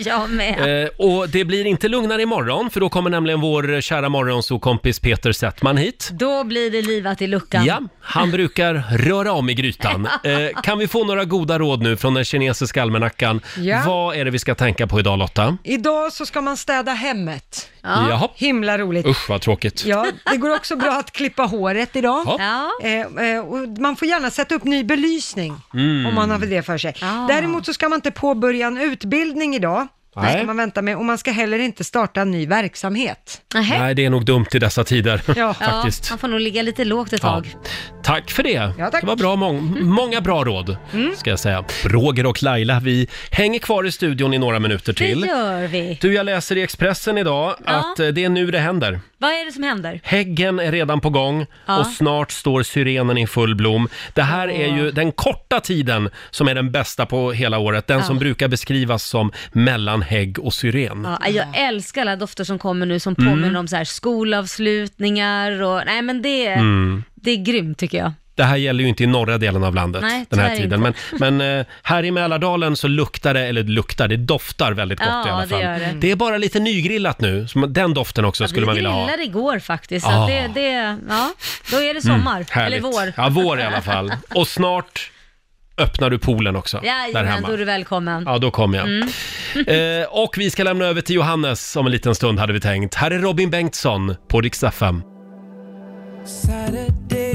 Speaker 2: Jag med.
Speaker 1: Eh, och det blir inte lugnare imorgon för då kommer nämligen vår kära morgonsokompis Peter Settman hit.
Speaker 2: Då blir det livat i luckan.
Speaker 1: Ja, han brukar röra om i grytan. Eh, kan vi få några goda råd nu från den kinesiska almanackan?
Speaker 3: Ja.
Speaker 1: Vad är det vi ska tänka på idag Lotta?
Speaker 3: Idag så ska man städa hemmet.
Speaker 2: Ja.
Speaker 1: Jaha,
Speaker 3: Himla roligt.
Speaker 1: usch vad tråkigt.
Speaker 3: Ja, det går också bra att klippa håret idag.
Speaker 1: Ja.
Speaker 2: Ja.
Speaker 3: Eh, eh, och man får gärna sätta upp ny belysning
Speaker 1: Mm.
Speaker 3: om man har det för sig.
Speaker 2: Ah.
Speaker 3: Däremot så ska man inte påbörja en utbildning idag. Det
Speaker 1: Nej.
Speaker 3: ska man vänta med och man ska heller inte starta en ny verksamhet.
Speaker 2: Nähä.
Speaker 1: Nej, det är nog dumt i dessa tider.
Speaker 2: Ja,
Speaker 3: Ja.
Speaker 1: Faktiskt.
Speaker 2: man får nog ligga lite lågt ett tag.
Speaker 1: Tack för det.
Speaker 3: Ja, tack. Mm.
Speaker 1: Det var bra, mång- många bra råd, ska jag säga. Roger och Laila, vi hänger kvar i studion i några minuter
Speaker 2: Det
Speaker 1: till.
Speaker 2: gör vi.
Speaker 1: Du, jag läser i Expressen idag
Speaker 2: Ja.
Speaker 1: att eh, det är nu det händer.
Speaker 2: Vad är det som händer?
Speaker 1: Häggen är redan på gång
Speaker 2: Ja.
Speaker 1: och snart står syrenen i full blom. Det här är ju den korta tiden som är den bästa på hela året. Den som brukar beskrivas som mellan hägg och syren.
Speaker 2: Ja, jag älskar alla dofter som kommer nu som
Speaker 1: Mm.
Speaker 2: påminner om så här skolavslutningar och nej men det,
Speaker 1: Mm.
Speaker 2: det är grymt tycker jag.
Speaker 1: Det här gäller ju inte i norra delen av landet
Speaker 2: Nej,
Speaker 1: den här
Speaker 2: tyvärr
Speaker 1: tiden. Men, men eh, här i Mälardalen så luktar det, eller luktar, det doftar väldigt gott
Speaker 2: Ja,
Speaker 1: i alla
Speaker 2: det
Speaker 1: fall.
Speaker 2: gör det.
Speaker 1: är bara lite nygrillat nu, så man- den doften också skulle
Speaker 2: vi
Speaker 1: man vilja ha.
Speaker 2: grillade igår faktiskt,
Speaker 1: Ah. Mm,
Speaker 2: så att det, det, ja, då är det sommar, eller
Speaker 1: Härligt.
Speaker 2: vår.
Speaker 1: Ja, vår i alla fall. Och snart öppnar du poolen också, där
Speaker 2: Jajamän,
Speaker 1: hemma.
Speaker 2: då är Mm. du välkommen.
Speaker 1: Ja, då kommer jag. eh, och vi ska lämna över till Johannes om en liten stund hade vi tänkt. Här är Robin Bengtsson på Rix FM.
Speaker 15: Saturday